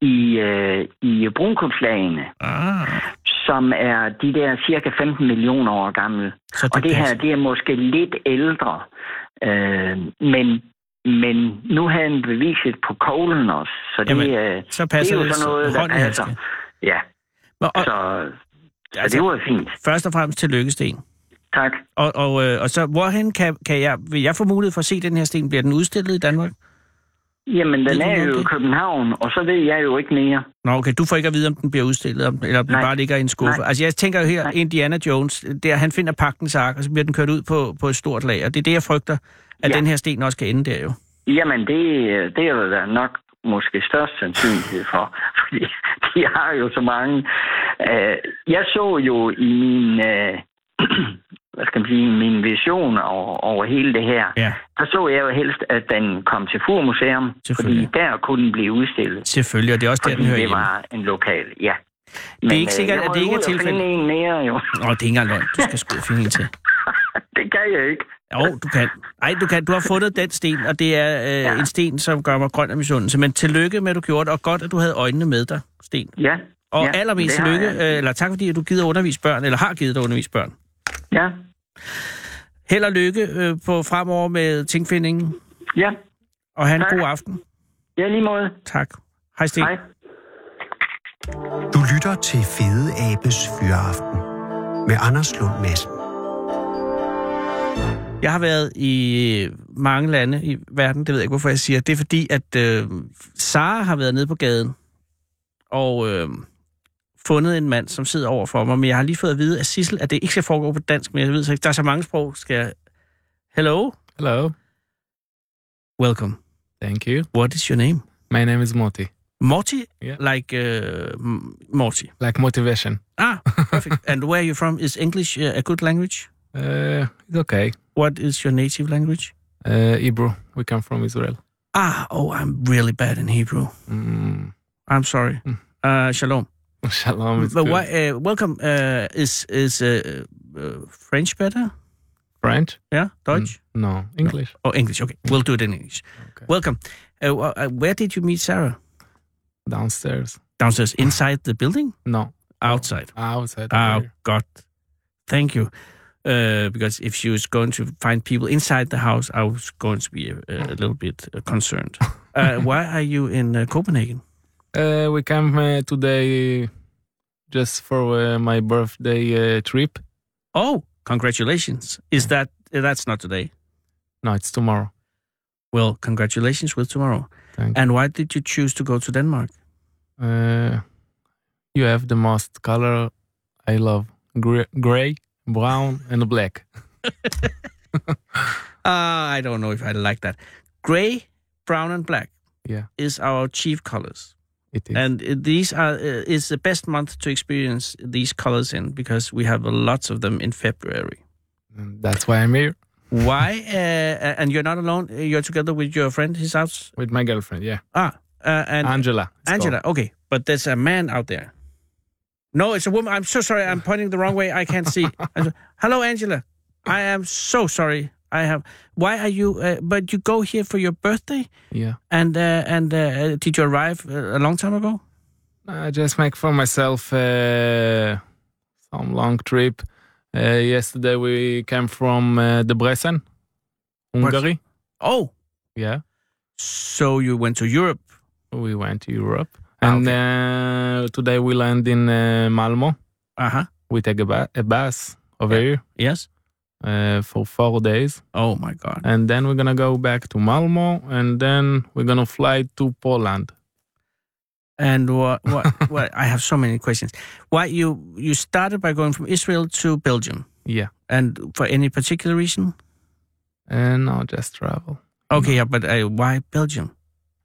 [SPEAKER 6] i, øh, i brunkopslagene.
[SPEAKER 5] Ah,
[SPEAKER 6] som er de der cirka 15 millioner år gamle.
[SPEAKER 5] så det,
[SPEAKER 6] Og det her,
[SPEAKER 5] passer.
[SPEAKER 6] det er måske lidt ældre. Øh, men, men nu havde han beviset på koglen også, så det,
[SPEAKER 5] Jamen,
[SPEAKER 6] øh,
[SPEAKER 5] så
[SPEAKER 6] det
[SPEAKER 5] passer
[SPEAKER 6] er
[SPEAKER 5] det,
[SPEAKER 6] jo sådan noget, der
[SPEAKER 5] hånd i handske.
[SPEAKER 6] passer. Ja,
[SPEAKER 5] Og, og,
[SPEAKER 6] så, så
[SPEAKER 5] altså-
[SPEAKER 6] Altså, det var fint.
[SPEAKER 5] Først og fremmest tillykke, Sten.
[SPEAKER 6] Tak.
[SPEAKER 5] Og, og, øh, og så, hvorhen kan, kan jeg, vil jeg få mulighed for at se den her sten? Bliver den udstillet i Danmark?
[SPEAKER 6] Jamen,
[SPEAKER 5] Ved
[SPEAKER 6] den
[SPEAKER 5] du
[SPEAKER 6] er
[SPEAKER 5] noget om
[SPEAKER 6] jo i
[SPEAKER 5] det?
[SPEAKER 6] København, og så ved jeg jo ikke mere.
[SPEAKER 5] Nå, okay, du får ikke at vide, om den bliver udstillet, om, eller om den
[SPEAKER 6] Nej.
[SPEAKER 5] bare ligger i en skuffe.
[SPEAKER 6] Nej.
[SPEAKER 5] Altså, jeg tænker jo her,
[SPEAKER 6] Nej.
[SPEAKER 5] Indiana Jones, der han finder pakkens ark, og så bliver den kørt ud på, på et stort lag, og det er det, jeg frygter, at
[SPEAKER 6] Ja.
[SPEAKER 5] den her sten også kan ende der jo.
[SPEAKER 6] Jamen, det, det er der nok måske størst sandsynlighed for, fordi de har jo så mange. Øh, Jeg så jo i min, øh, hvad skal man sige, min vision over, over hele det her,
[SPEAKER 5] Ja,
[SPEAKER 6] der så jeg jo helst, at den kom til Furmuseum, fordi
[SPEAKER 5] Selvfølgelig.
[SPEAKER 6] der kunne den blive udstillet,
[SPEAKER 5] selvfølgelig, og det er også der, den
[SPEAKER 6] fordi
[SPEAKER 5] hører
[SPEAKER 6] det
[SPEAKER 5] hjemme.
[SPEAKER 6] var en lokal, ja. øh,
[SPEAKER 5] er ikke sikkert,
[SPEAKER 6] jeg
[SPEAKER 5] at
[SPEAKER 6] må
[SPEAKER 5] det
[SPEAKER 6] jo
[SPEAKER 5] ikke er
[SPEAKER 6] ud og finde
[SPEAKER 5] tilfældet.
[SPEAKER 6] en mere, jo.
[SPEAKER 5] Nå, det er ikke engang løgn. Du skal sgu finde en til.
[SPEAKER 6] Det kan jeg ikke.
[SPEAKER 5] Jo, du kan. Ej, du kan. Du har fundet den sten, og det er øh, ja. en sten, som gør mig grøn af misundelse. Men tillykke med, at du gjorde det, og godt, at du havde øjnene med dig, Sten.
[SPEAKER 6] Ja.
[SPEAKER 5] Og
[SPEAKER 6] ja,
[SPEAKER 5] ja, allermest
[SPEAKER 6] det har
[SPEAKER 5] tillykke,
[SPEAKER 6] jeg.
[SPEAKER 5] øh, eller tak fordi, at du gider undervise børn, eller har givet dig at undervise børn.
[SPEAKER 6] Ja,
[SPEAKER 5] Held og lykke øh, på fremover med tingfindingen,
[SPEAKER 6] ja.
[SPEAKER 5] og have en
[SPEAKER 6] Tak.
[SPEAKER 5] god aften.
[SPEAKER 6] Ja, lige måde.
[SPEAKER 5] Tak. Hej, Sten.
[SPEAKER 6] Hej.
[SPEAKER 3] Du lytter til Fede Abes Fyraften med Anders Lund Madsen.
[SPEAKER 5] Jeg har været i øh, mange lande i verden, det ved jeg ikke, hvorfor jeg siger. Det er fordi, at øh, Sara har været nede på gaden og øh, fundet en mand, som sidder over for mig. Men jeg har lige fået at vide af Sissel, at det ikke skal foregå på dansk, men jeg ved så ikke, der er så mange sprog. Skal jeg... Hello?
[SPEAKER 7] Hello.
[SPEAKER 5] Welcome.
[SPEAKER 7] Thank you.
[SPEAKER 5] What is your name?
[SPEAKER 7] My name is Moti.
[SPEAKER 5] Morty?
[SPEAKER 7] Yeah.
[SPEAKER 5] Like uh, M- Morty.
[SPEAKER 7] Like motivation.
[SPEAKER 5] Ah, perfect. and where you're from, is English uh, a good language?
[SPEAKER 7] Uh, it's okay.
[SPEAKER 5] What is your native language?
[SPEAKER 7] Uh, Hebrew. We come from Israel.
[SPEAKER 5] Ah, oh, I'm really bad in Hebrew.
[SPEAKER 7] Mm.
[SPEAKER 5] I'm sorry.
[SPEAKER 7] Mm.
[SPEAKER 5] Uh, shalom.
[SPEAKER 7] Shalom. It's
[SPEAKER 5] But
[SPEAKER 7] good.
[SPEAKER 5] why, uh, welcome. Uh, is is uh, uh, French better?
[SPEAKER 7] French?
[SPEAKER 5] Yeah, Deutsch
[SPEAKER 7] No. English.
[SPEAKER 5] or English? Okay, we'll do it in English.
[SPEAKER 7] Hmm. Okay.
[SPEAKER 5] Welcome. Uh, wh- uh, where did you meet Sarah?
[SPEAKER 7] Downstairs.
[SPEAKER 5] Downstairs, inside the building,
[SPEAKER 7] No.
[SPEAKER 5] outside.
[SPEAKER 7] Outside.
[SPEAKER 5] Oh
[SPEAKER 7] Oh. here.
[SPEAKER 5] God, thank you. Uh, because if she was going to find people inside the house, I was going to be a, a little bit uh, concerned. Uh, why are you in uh, Copenhagen?
[SPEAKER 7] Uh, we came uh, today just for uh, my birthday uh, trip.
[SPEAKER 5] Oh, congratulations! Is that uh, that's not today?
[SPEAKER 7] No, it's tomorrow.
[SPEAKER 5] Well, congratulations with tomorrow.
[SPEAKER 7] Thank
[SPEAKER 5] And why did you choose to go to Denmark?
[SPEAKER 7] Uh, you have the most color I love. Gray, gray brown, and black.
[SPEAKER 5] Uh, I don't know if I like that. Gray, brown, and black.
[SPEAKER 7] Yeah.
[SPEAKER 5] is our chief colors,
[SPEAKER 7] It is.
[SPEAKER 5] and uh, these are uh, is the best month to experience these colors in because we have lots of them in February.
[SPEAKER 7] And that's why I'm here
[SPEAKER 5] Why? Uh, and you're not alone. uh, You're together with your friend. He's out.
[SPEAKER 7] with my girlfriend. Yeah.
[SPEAKER 5] Ah, uh, and
[SPEAKER 7] Angela. it's
[SPEAKER 5] Angela. Okay, but there's a man out there. No, it's a woman. I'm so sorry. I'm pointing the wrong way. I can't see. I'm so- Hello, Angela. I am so sorry. I have. Why are you? Uh, but you go here for your birthday,
[SPEAKER 7] called. Yeah.
[SPEAKER 5] and uh, and uh, did you arrive uh, a long time ago?
[SPEAKER 7] I just make for myself uh, some long trip. Uh, yesterday we came from uh, Debrecen, Hungary.
[SPEAKER 5] Oh,
[SPEAKER 7] Yeah,
[SPEAKER 5] so you went to Europe?
[SPEAKER 7] we went to Europe,
[SPEAKER 5] Ah,
[SPEAKER 7] and uh, today we land in uh, Malmo.
[SPEAKER 5] Uh huh.
[SPEAKER 7] We take a, ba- a bus over here
[SPEAKER 5] Yes.
[SPEAKER 7] uh, for four days,
[SPEAKER 5] Oh my God.
[SPEAKER 7] and then we're gonna go back to Malmo, and then we're gonna fly to Poland.
[SPEAKER 5] And what, what, what? I have so many questions. Why you you started by going from Israel to Belgium,
[SPEAKER 7] Yeah,
[SPEAKER 5] and for any particular reason?
[SPEAKER 7] and now just travel.
[SPEAKER 5] Okay, yeah, but uh, why Belgium?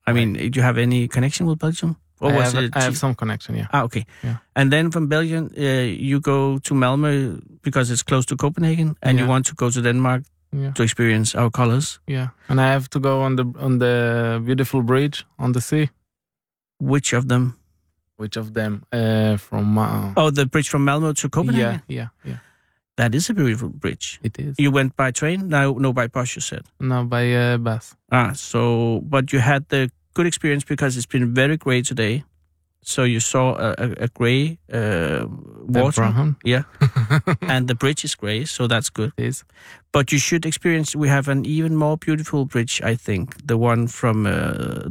[SPEAKER 5] I mean, do you have any connection with Belgium? Or
[SPEAKER 7] I,
[SPEAKER 5] was
[SPEAKER 7] have,
[SPEAKER 5] it
[SPEAKER 7] I have
[SPEAKER 5] cheap?
[SPEAKER 7] some connection. Yeah,
[SPEAKER 5] ah, okay.
[SPEAKER 7] Yeah.
[SPEAKER 5] And then from Belgium, uh, you go to Malmo because it's close to Copenhagen, and you
[SPEAKER 7] Yeah.
[SPEAKER 5] want to go to Denmark
[SPEAKER 7] yeah.
[SPEAKER 5] to experience our colors.
[SPEAKER 7] Yeah, and I have to go on the on the beautiful bridge on the sea.
[SPEAKER 5] Which of them?
[SPEAKER 7] Which of them? Uh, from uh,
[SPEAKER 5] Oh, the bridge from Malmo to Copenhagen.
[SPEAKER 7] yeah, yeah, yeah.
[SPEAKER 5] That is a beautiful bridge.
[SPEAKER 7] It is
[SPEAKER 5] You went by train? No, no, by bus. You said.
[SPEAKER 7] no by uh, bus.
[SPEAKER 5] Ah, so but you had the good experience because it's been very grey today. So you saw a, a, a grey uh, water,
[SPEAKER 7] Abraham.
[SPEAKER 5] yeah, and the bridge is grey, so that's good.
[SPEAKER 7] It is
[SPEAKER 5] But you should experience. We have an even more beautiful bridge, I think, the one from uh,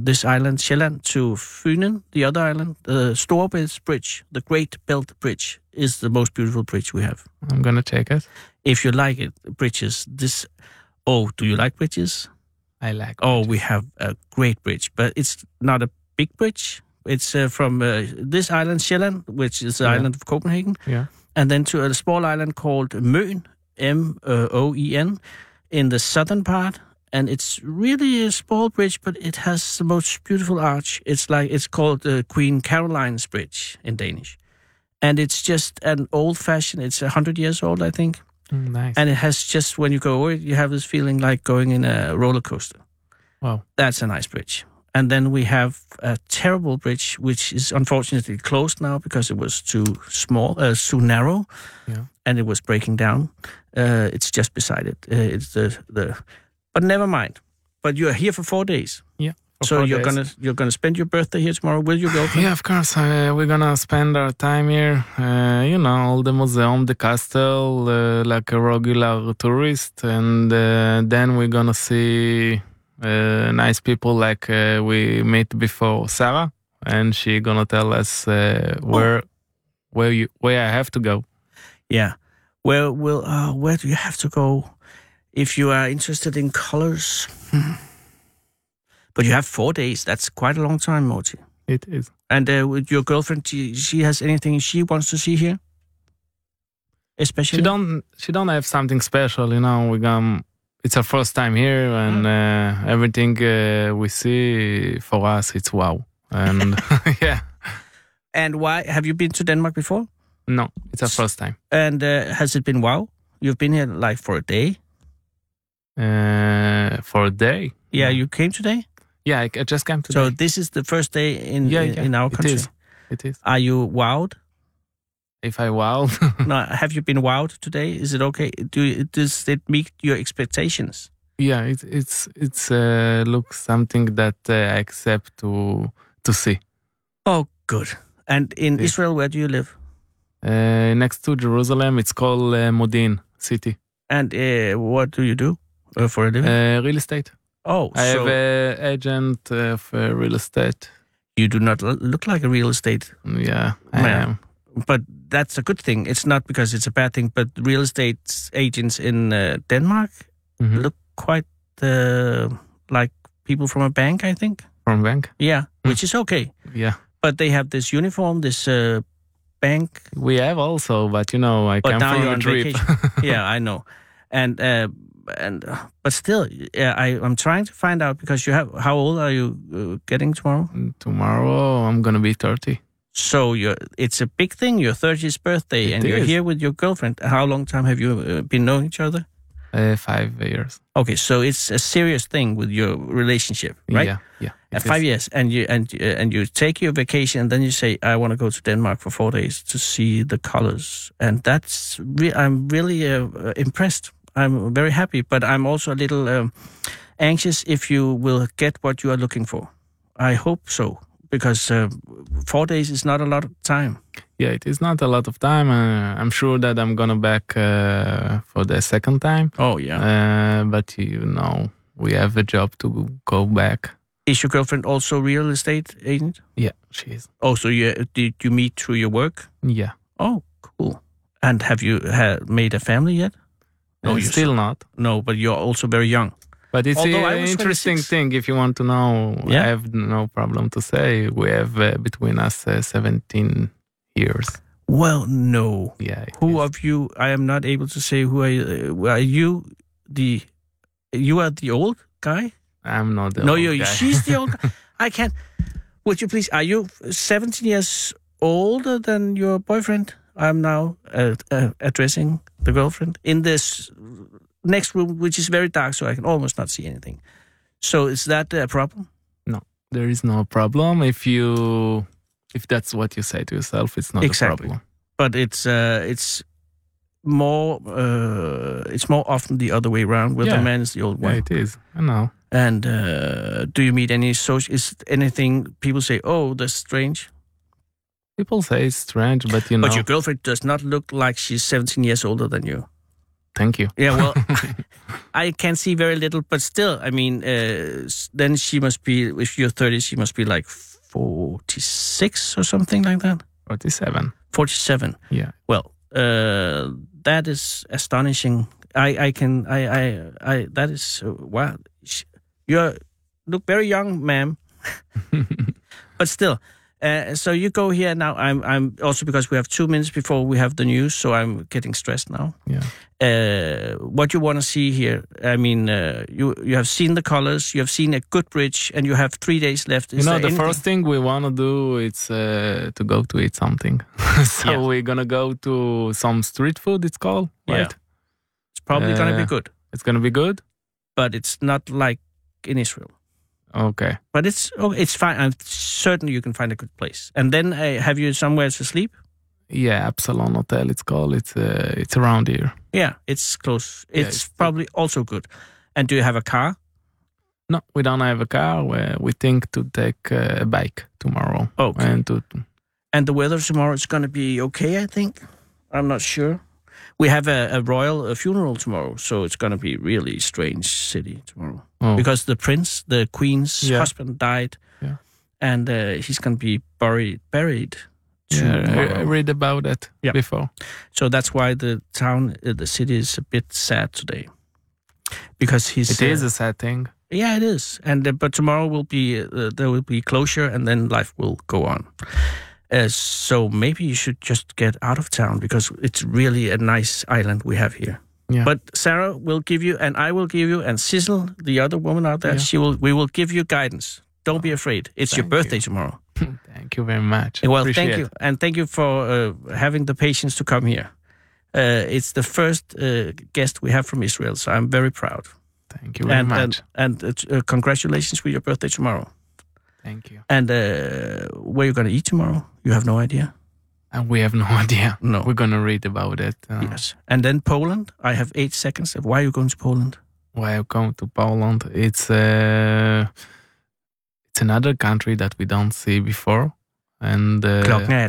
[SPEAKER 5] this island, Sjælland, to Funen, the other island, the Storebælts Bridge, the Great Belt Bridge, is the most beautiful bridge we have.
[SPEAKER 7] I'm gonna check it.
[SPEAKER 5] If you like it, bridges. This, oh, do you like bridges?
[SPEAKER 7] I like.
[SPEAKER 5] oh, we have a great bridge, but it's not a big bridge. It's uh, from uh, this island, Sjælland, which is the
[SPEAKER 7] Yeah.
[SPEAKER 5] island of Copenhagen,
[SPEAKER 7] Yeah.
[SPEAKER 5] and then to a small island called Møn, M uh, O E N, in the southern part. And it's really a small bridge, but it has the most beautiful arch. It's like it's called uh, Queen Caroline's Bridge in Danish, and it's just an old-fashioned. It's hundred years old, I think,
[SPEAKER 7] Mm, nice.
[SPEAKER 5] and it has just when you go over it, you have this feeling like going in a roller coaster.
[SPEAKER 7] wow.
[SPEAKER 5] That's a nice bridge. And then we have a terrible bridge, which is unfortunately closed now because it was too small, uh, too narrow,
[SPEAKER 7] Yeah.
[SPEAKER 5] and it was breaking down. Uh, it's just beside it. Uh, it's the the, but never mind. But you're here for four days,
[SPEAKER 7] Yeah. for
[SPEAKER 5] so
[SPEAKER 7] four
[SPEAKER 5] you're
[SPEAKER 7] days.
[SPEAKER 5] gonna you're gonna spend your birthday here tomorrow with your girlfriend.
[SPEAKER 7] Yeah, of course. Uh, we're gonna spend our time here. Uh, you know, all the museum, the castle, uh, like a regular tourist, and uh, then we're gonna see uh, nice people like uh, we met before Sarah, and she gonna tell us uh, where where you where I have to go.
[SPEAKER 5] Yeah. Where will uh, where do you have to go? if you are interested in colors.
[SPEAKER 7] Hmm.
[SPEAKER 5] but you have four days. That's quite a long time, Morty.
[SPEAKER 7] It is.
[SPEAKER 5] And uh, with your girlfriend, she, she has anything she wants to see here? Especially?
[SPEAKER 7] She don't. She don't have something special, you know. We come. It's her first time here, and uh, everything uh, we see for us, it's wow. And yeah,
[SPEAKER 5] And why? Have you been to Denmark before?
[SPEAKER 7] no, it's her first time.
[SPEAKER 5] And uh, has it been wow? You've been here like for a day.
[SPEAKER 7] Uh, for a day.
[SPEAKER 5] Yeah, you came today.
[SPEAKER 7] Yeah, I, I just came today.
[SPEAKER 5] So this is the first day in
[SPEAKER 7] yeah,
[SPEAKER 5] in,
[SPEAKER 7] yeah,
[SPEAKER 5] in our
[SPEAKER 7] it
[SPEAKER 5] country.
[SPEAKER 7] is. It is.
[SPEAKER 5] Are you wowed?
[SPEAKER 7] If I wow,
[SPEAKER 5] no, have you been wowed today? Is it okay? Do you- does it meet your expectations?
[SPEAKER 7] yeah, it, it's it's uh, looks something that uh, I accept to to see
[SPEAKER 5] Oh, good. And in
[SPEAKER 7] Yeah.
[SPEAKER 5] Israel, where do you live?
[SPEAKER 7] uh, next to Jerusalem. It's called uh, Modin City.
[SPEAKER 5] And uh, what do you do uh, for a living?
[SPEAKER 7] Uh, real estate.
[SPEAKER 5] oh,
[SPEAKER 7] I
[SPEAKER 5] so
[SPEAKER 7] have uh, an agent of uh, real estate.
[SPEAKER 5] you do not l- look like a real estate,
[SPEAKER 7] Yeah, I
[SPEAKER 5] Yeah.
[SPEAKER 7] am.
[SPEAKER 5] but that's a good thing. It's not because it's a bad thing, but real estate agents in uh, Denmark
[SPEAKER 7] Mhm.
[SPEAKER 5] look quite uh, like people from a bank, I think.
[SPEAKER 7] From bank.
[SPEAKER 5] Yeah,
[SPEAKER 7] Hmm.
[SPEAKER 5] which is okay.
[SPEAKER 7] Yeah,
[SPEAKER 5] But they have this uniform, this uh, bank.
[SPEAKER 7] we have also, but you know, I
[SPEAKER 5] But
[SPEAKER 7] come
[SPEAKER 5] now
[SPEAKER 7] from
[SPEAKER 5] you're
[SPEAKER 7] a
[SPEAKER 5] on
[SPEAKER 7] trip.
[SPEAKER 5] vacation. yeah, I know. And uh, and uh, but still, yeah, I I'm trying to find out because you have how old are you uh, getting tomorrow?
[SPEAKER 7] Tomorrow I'm gonna be thirty.
[SPEAKER 5] So you're it's a big thing. Your 30th birthday,
[SPEAKER 7] It
[SPEAKER 5] and you're
[SPEAKER 7] is.
[SPEAKER 5] here with your girlfriend. How long time have you uh, been knowing each other?
[SPEAKER 7] Uh, five years.
[SPEAKER 5] Okay, so it's a serious thing with your relationship, right?
[SPEAKER 7] Yeah, yeah.
[SPEAKER 5] Uh,
[SPEAKER 7] it
[SPEAKER 5] five
[SPEAKER 7] is.
[SPEAKER 5] years, and you and uh, and you take your vacation, and then you say, "I want to go to Denmark for four days to see the colors," and that's re- I'm really uh, uh, impressed. I'm very happy, but I'm also a little um, anxious if you will get what you are looking for. I hope so, because uh, four days is not a lot of time.
[SPEAKER 7] Yeah, it is not a lot of time. Uh, I'm sure that I'm gonna back uh, for the second time.
[SPEAKER 5] Oh yeah.
[SPEAKER 7] Uh, but you know, we have a job to go back.
[SPEAKER 5] Is your girlfriend also real estate agent?
[SPEAKER 7] Yeah, she is.
[SPEAKER 5] Oh, so you did you meet through your work?
[SPEAKER 7] Yeah.
[SPEAKER 5] Oh, cool. And have you ha- made a family yet? No,
[SPEAKER 7] Uh,
[SPEAKER 5] you're
[SPEAKER 7] still not.
[SPEAKER 5] No, but you're also very young.
[SPEAKER 7] But it's
[SPEAKER 5] Although I
[SPEAKER 7] an
[SPEAKER 5] was
[SPEAKER 7] interesting
[SPEAKER 5] 26.
[SPEAKER 7] thing. If you want to know,
[SPEAKER 5] Yeah.
[SPEAKER 7] I have no problem to say we have uh, between us uh, 17 years.
[SPEAKER 5] Well, no.
[SPEAKER 7] Yeah. it
[SPEAKER 5] Who
[SPEAKER 7] is.
[SPEAKER 5] of you? I am not able to say who I. Uh, are you the? You are the old guy.
[SPEAKER 7] I'm not. The
[SPEAKER 5] no,
[SPEAKER 7] old
[SPEAKER 5] you.
[SPEAKER 7] guy.
[SPEAKER 5] She's the old. guy. I can't. Would you please? Are you seventeen years older than your boyfriend? I'm now uh, uh, addressing the girlfriend in this next room, which is very dark, so I can almost not see anything. So is that a problem?
[SPEAKER 7] there is no problem if you if that's what you say to yourself. It's not
[SPEAKER 5] Exactly.
[SPEAKER 7] a problem.
[SPEAKER 5] but it's uh, it's more uh, it's more often the other way around where the
[SPEAKER 7] Yeah.
[SPEAKER 5] man is the old
[SPEAKER 7] Yeah,
[SPEAKER 5] one.
[SPEAKER 7] it is. I know.
[SPEAKER 5] And uh, do you meet any social? Is anything people say? Oh, that's strange.
[SPEAKER 7] People say it's strange, but you know.
[SPEAKER 5] But your girlfriend does not look like she's 17 years older than you.
[SPEAKER 7] thank you.
[SPEAKER 5] Yeah, well, I can see very little, but still, I mean, uh, s- then she must be. If you're 30, she must be like 46 or something like that.
[SPEAKER 7] 47.
[SPEAKER 5] 47.
[SPEAKER 7] Yeah.
[SPEAKER 5] Well, uh, that is astonishing. I, I can I I, I that is uh, wow. Sh- You look very young, ma'am. but still, uh, so you go here now. I'm I'm also because we have two minutes before we have the news, so I'm getting stressed now.
[SPEAKER 7] Yeah.
[SPEAKER 5] Uh, what you want to see here? I mean, uh, you you have seen the colors, you have seen a good bridge, and you have three days left. Is
[SPEAKER 7] you know,
[SPEAKER 5] there
[SPEAKER 7] the
[SPEAKER 5] anything-
[SPEAKER 7] first thing we want to do is uh, to go to eat something. so
[SPEAKER 5] Yeah.
[SPEAKER 7] we're going to go to some street food, it's called,
[SPEAKER 5] Yeah.
[SPEAKER 7] right?
[SPEAKER 5] it's probably going to be
[SPEAKER 7] uh,
[SPEAKER 5] good,
[SPEAKER 7] It's going to be good?
[SPEAKER 5] but it's not like in Israel.
[SPEAKER 7] Okay.
[SPEAKER 5] But it's oh, it's fine. I'm certain you can find a good place. And then uh, have you somewhere to sleep?
[SPEAKER 7] Yeah, Absalon Hotel, it's called. It's uh, it's around here.
[SPEAKER 5] Yeah, it's close. It's,
[SPEAKER 7] Yeah, it's-
[SPEAKER 5] probably also good. And do you have a car?
[SPEAKER 7] No, we don't have a car. We, we think to take uh, a bike tomorrow.
[SPEAKER 5] Okay.
[SPEAKER 7] And to,
[SPEAKER 5] And the weather tomorrow is going to be okay. I think. I'm not sure. We have a, a royal uh funeral tomorrow, so it's going to be really strange city tomorrow
[SPEAKER 7] oh,
[SPEAKER 5] because the prince, the queen's
[SPEAKER 7] Yeah.
[SPEAKER 5] husband, died,
[SPEAKER 7] Yeah.
[SPEAKER 5] and uh, he's going to be buried buried
[SPEAKER 7] yeah, I- I,
[SPEAKER 5] tomorrow.
[SPEAKER 7] read about that
[SPEAKER 5] Yeah.
[SPEAKER 7] before.
[SPEAKER 5] So that's why the town, uh, the city is a bit sad today. because he's uh,
[SPEAKER 7] It is a sad thing.
[SPEAKER 5] yeah, it is. And uh, but tomorrow will be uh, there will be closure, and then life will go on. Uh, so maybe you should just get out of town because it's really a nice island we have here.
[SPEAKER 7] Yeah.
[SPEAKER 5] But Sarah will give you, and I will give you, and Sissel, the other woman out there,
[SPEAKER 7] Yeah. Oh,
[SPEAKER 5] she will. We will give you guidance. Don't be afraid. It's your
[SPEAKER 7] Thank
[SPEAKER 5] birthday
[SPEAKER 7] you.
[SPEAKER 5] tomorrow.
[SPEAKER 7] Thank you very much.
[SPEAKER 5] Well,
[SPEAKER 7] Appreciate
[SPEAKER 5] thank you,
[SPEAKER 7] it.
[SPEAKER 5] and thank you for uh, having the patience to come here. Uh, it's the first uh, guest we have from Israel, so I'm very proud.
[SPEAKER 7] Thank you very
[SPEAKER 5] and,
[SPEAKER 7] much.
[SPEAKER 5] and and uh, t- uh, congratulations with your birthday tomorrow.
[SPEAKER 7] thank you.
[SPEAKER 5] And uh, where you gonna eat tomorrow? You have no idea.
[SPEAKER 7] And we have no idea.
[SPEAKER 5] No.
[SPEAKER 7] We're gonna read about it. uh,
[SPEAKER 5] Yes. And then Poland. I have eight seconds. Why are you going to Poland?
[SPEAKER 7] Why I'm going to Poland? It's uh, it's another country that we don't see before, and uh,
[SPEAKER 5] Klokken er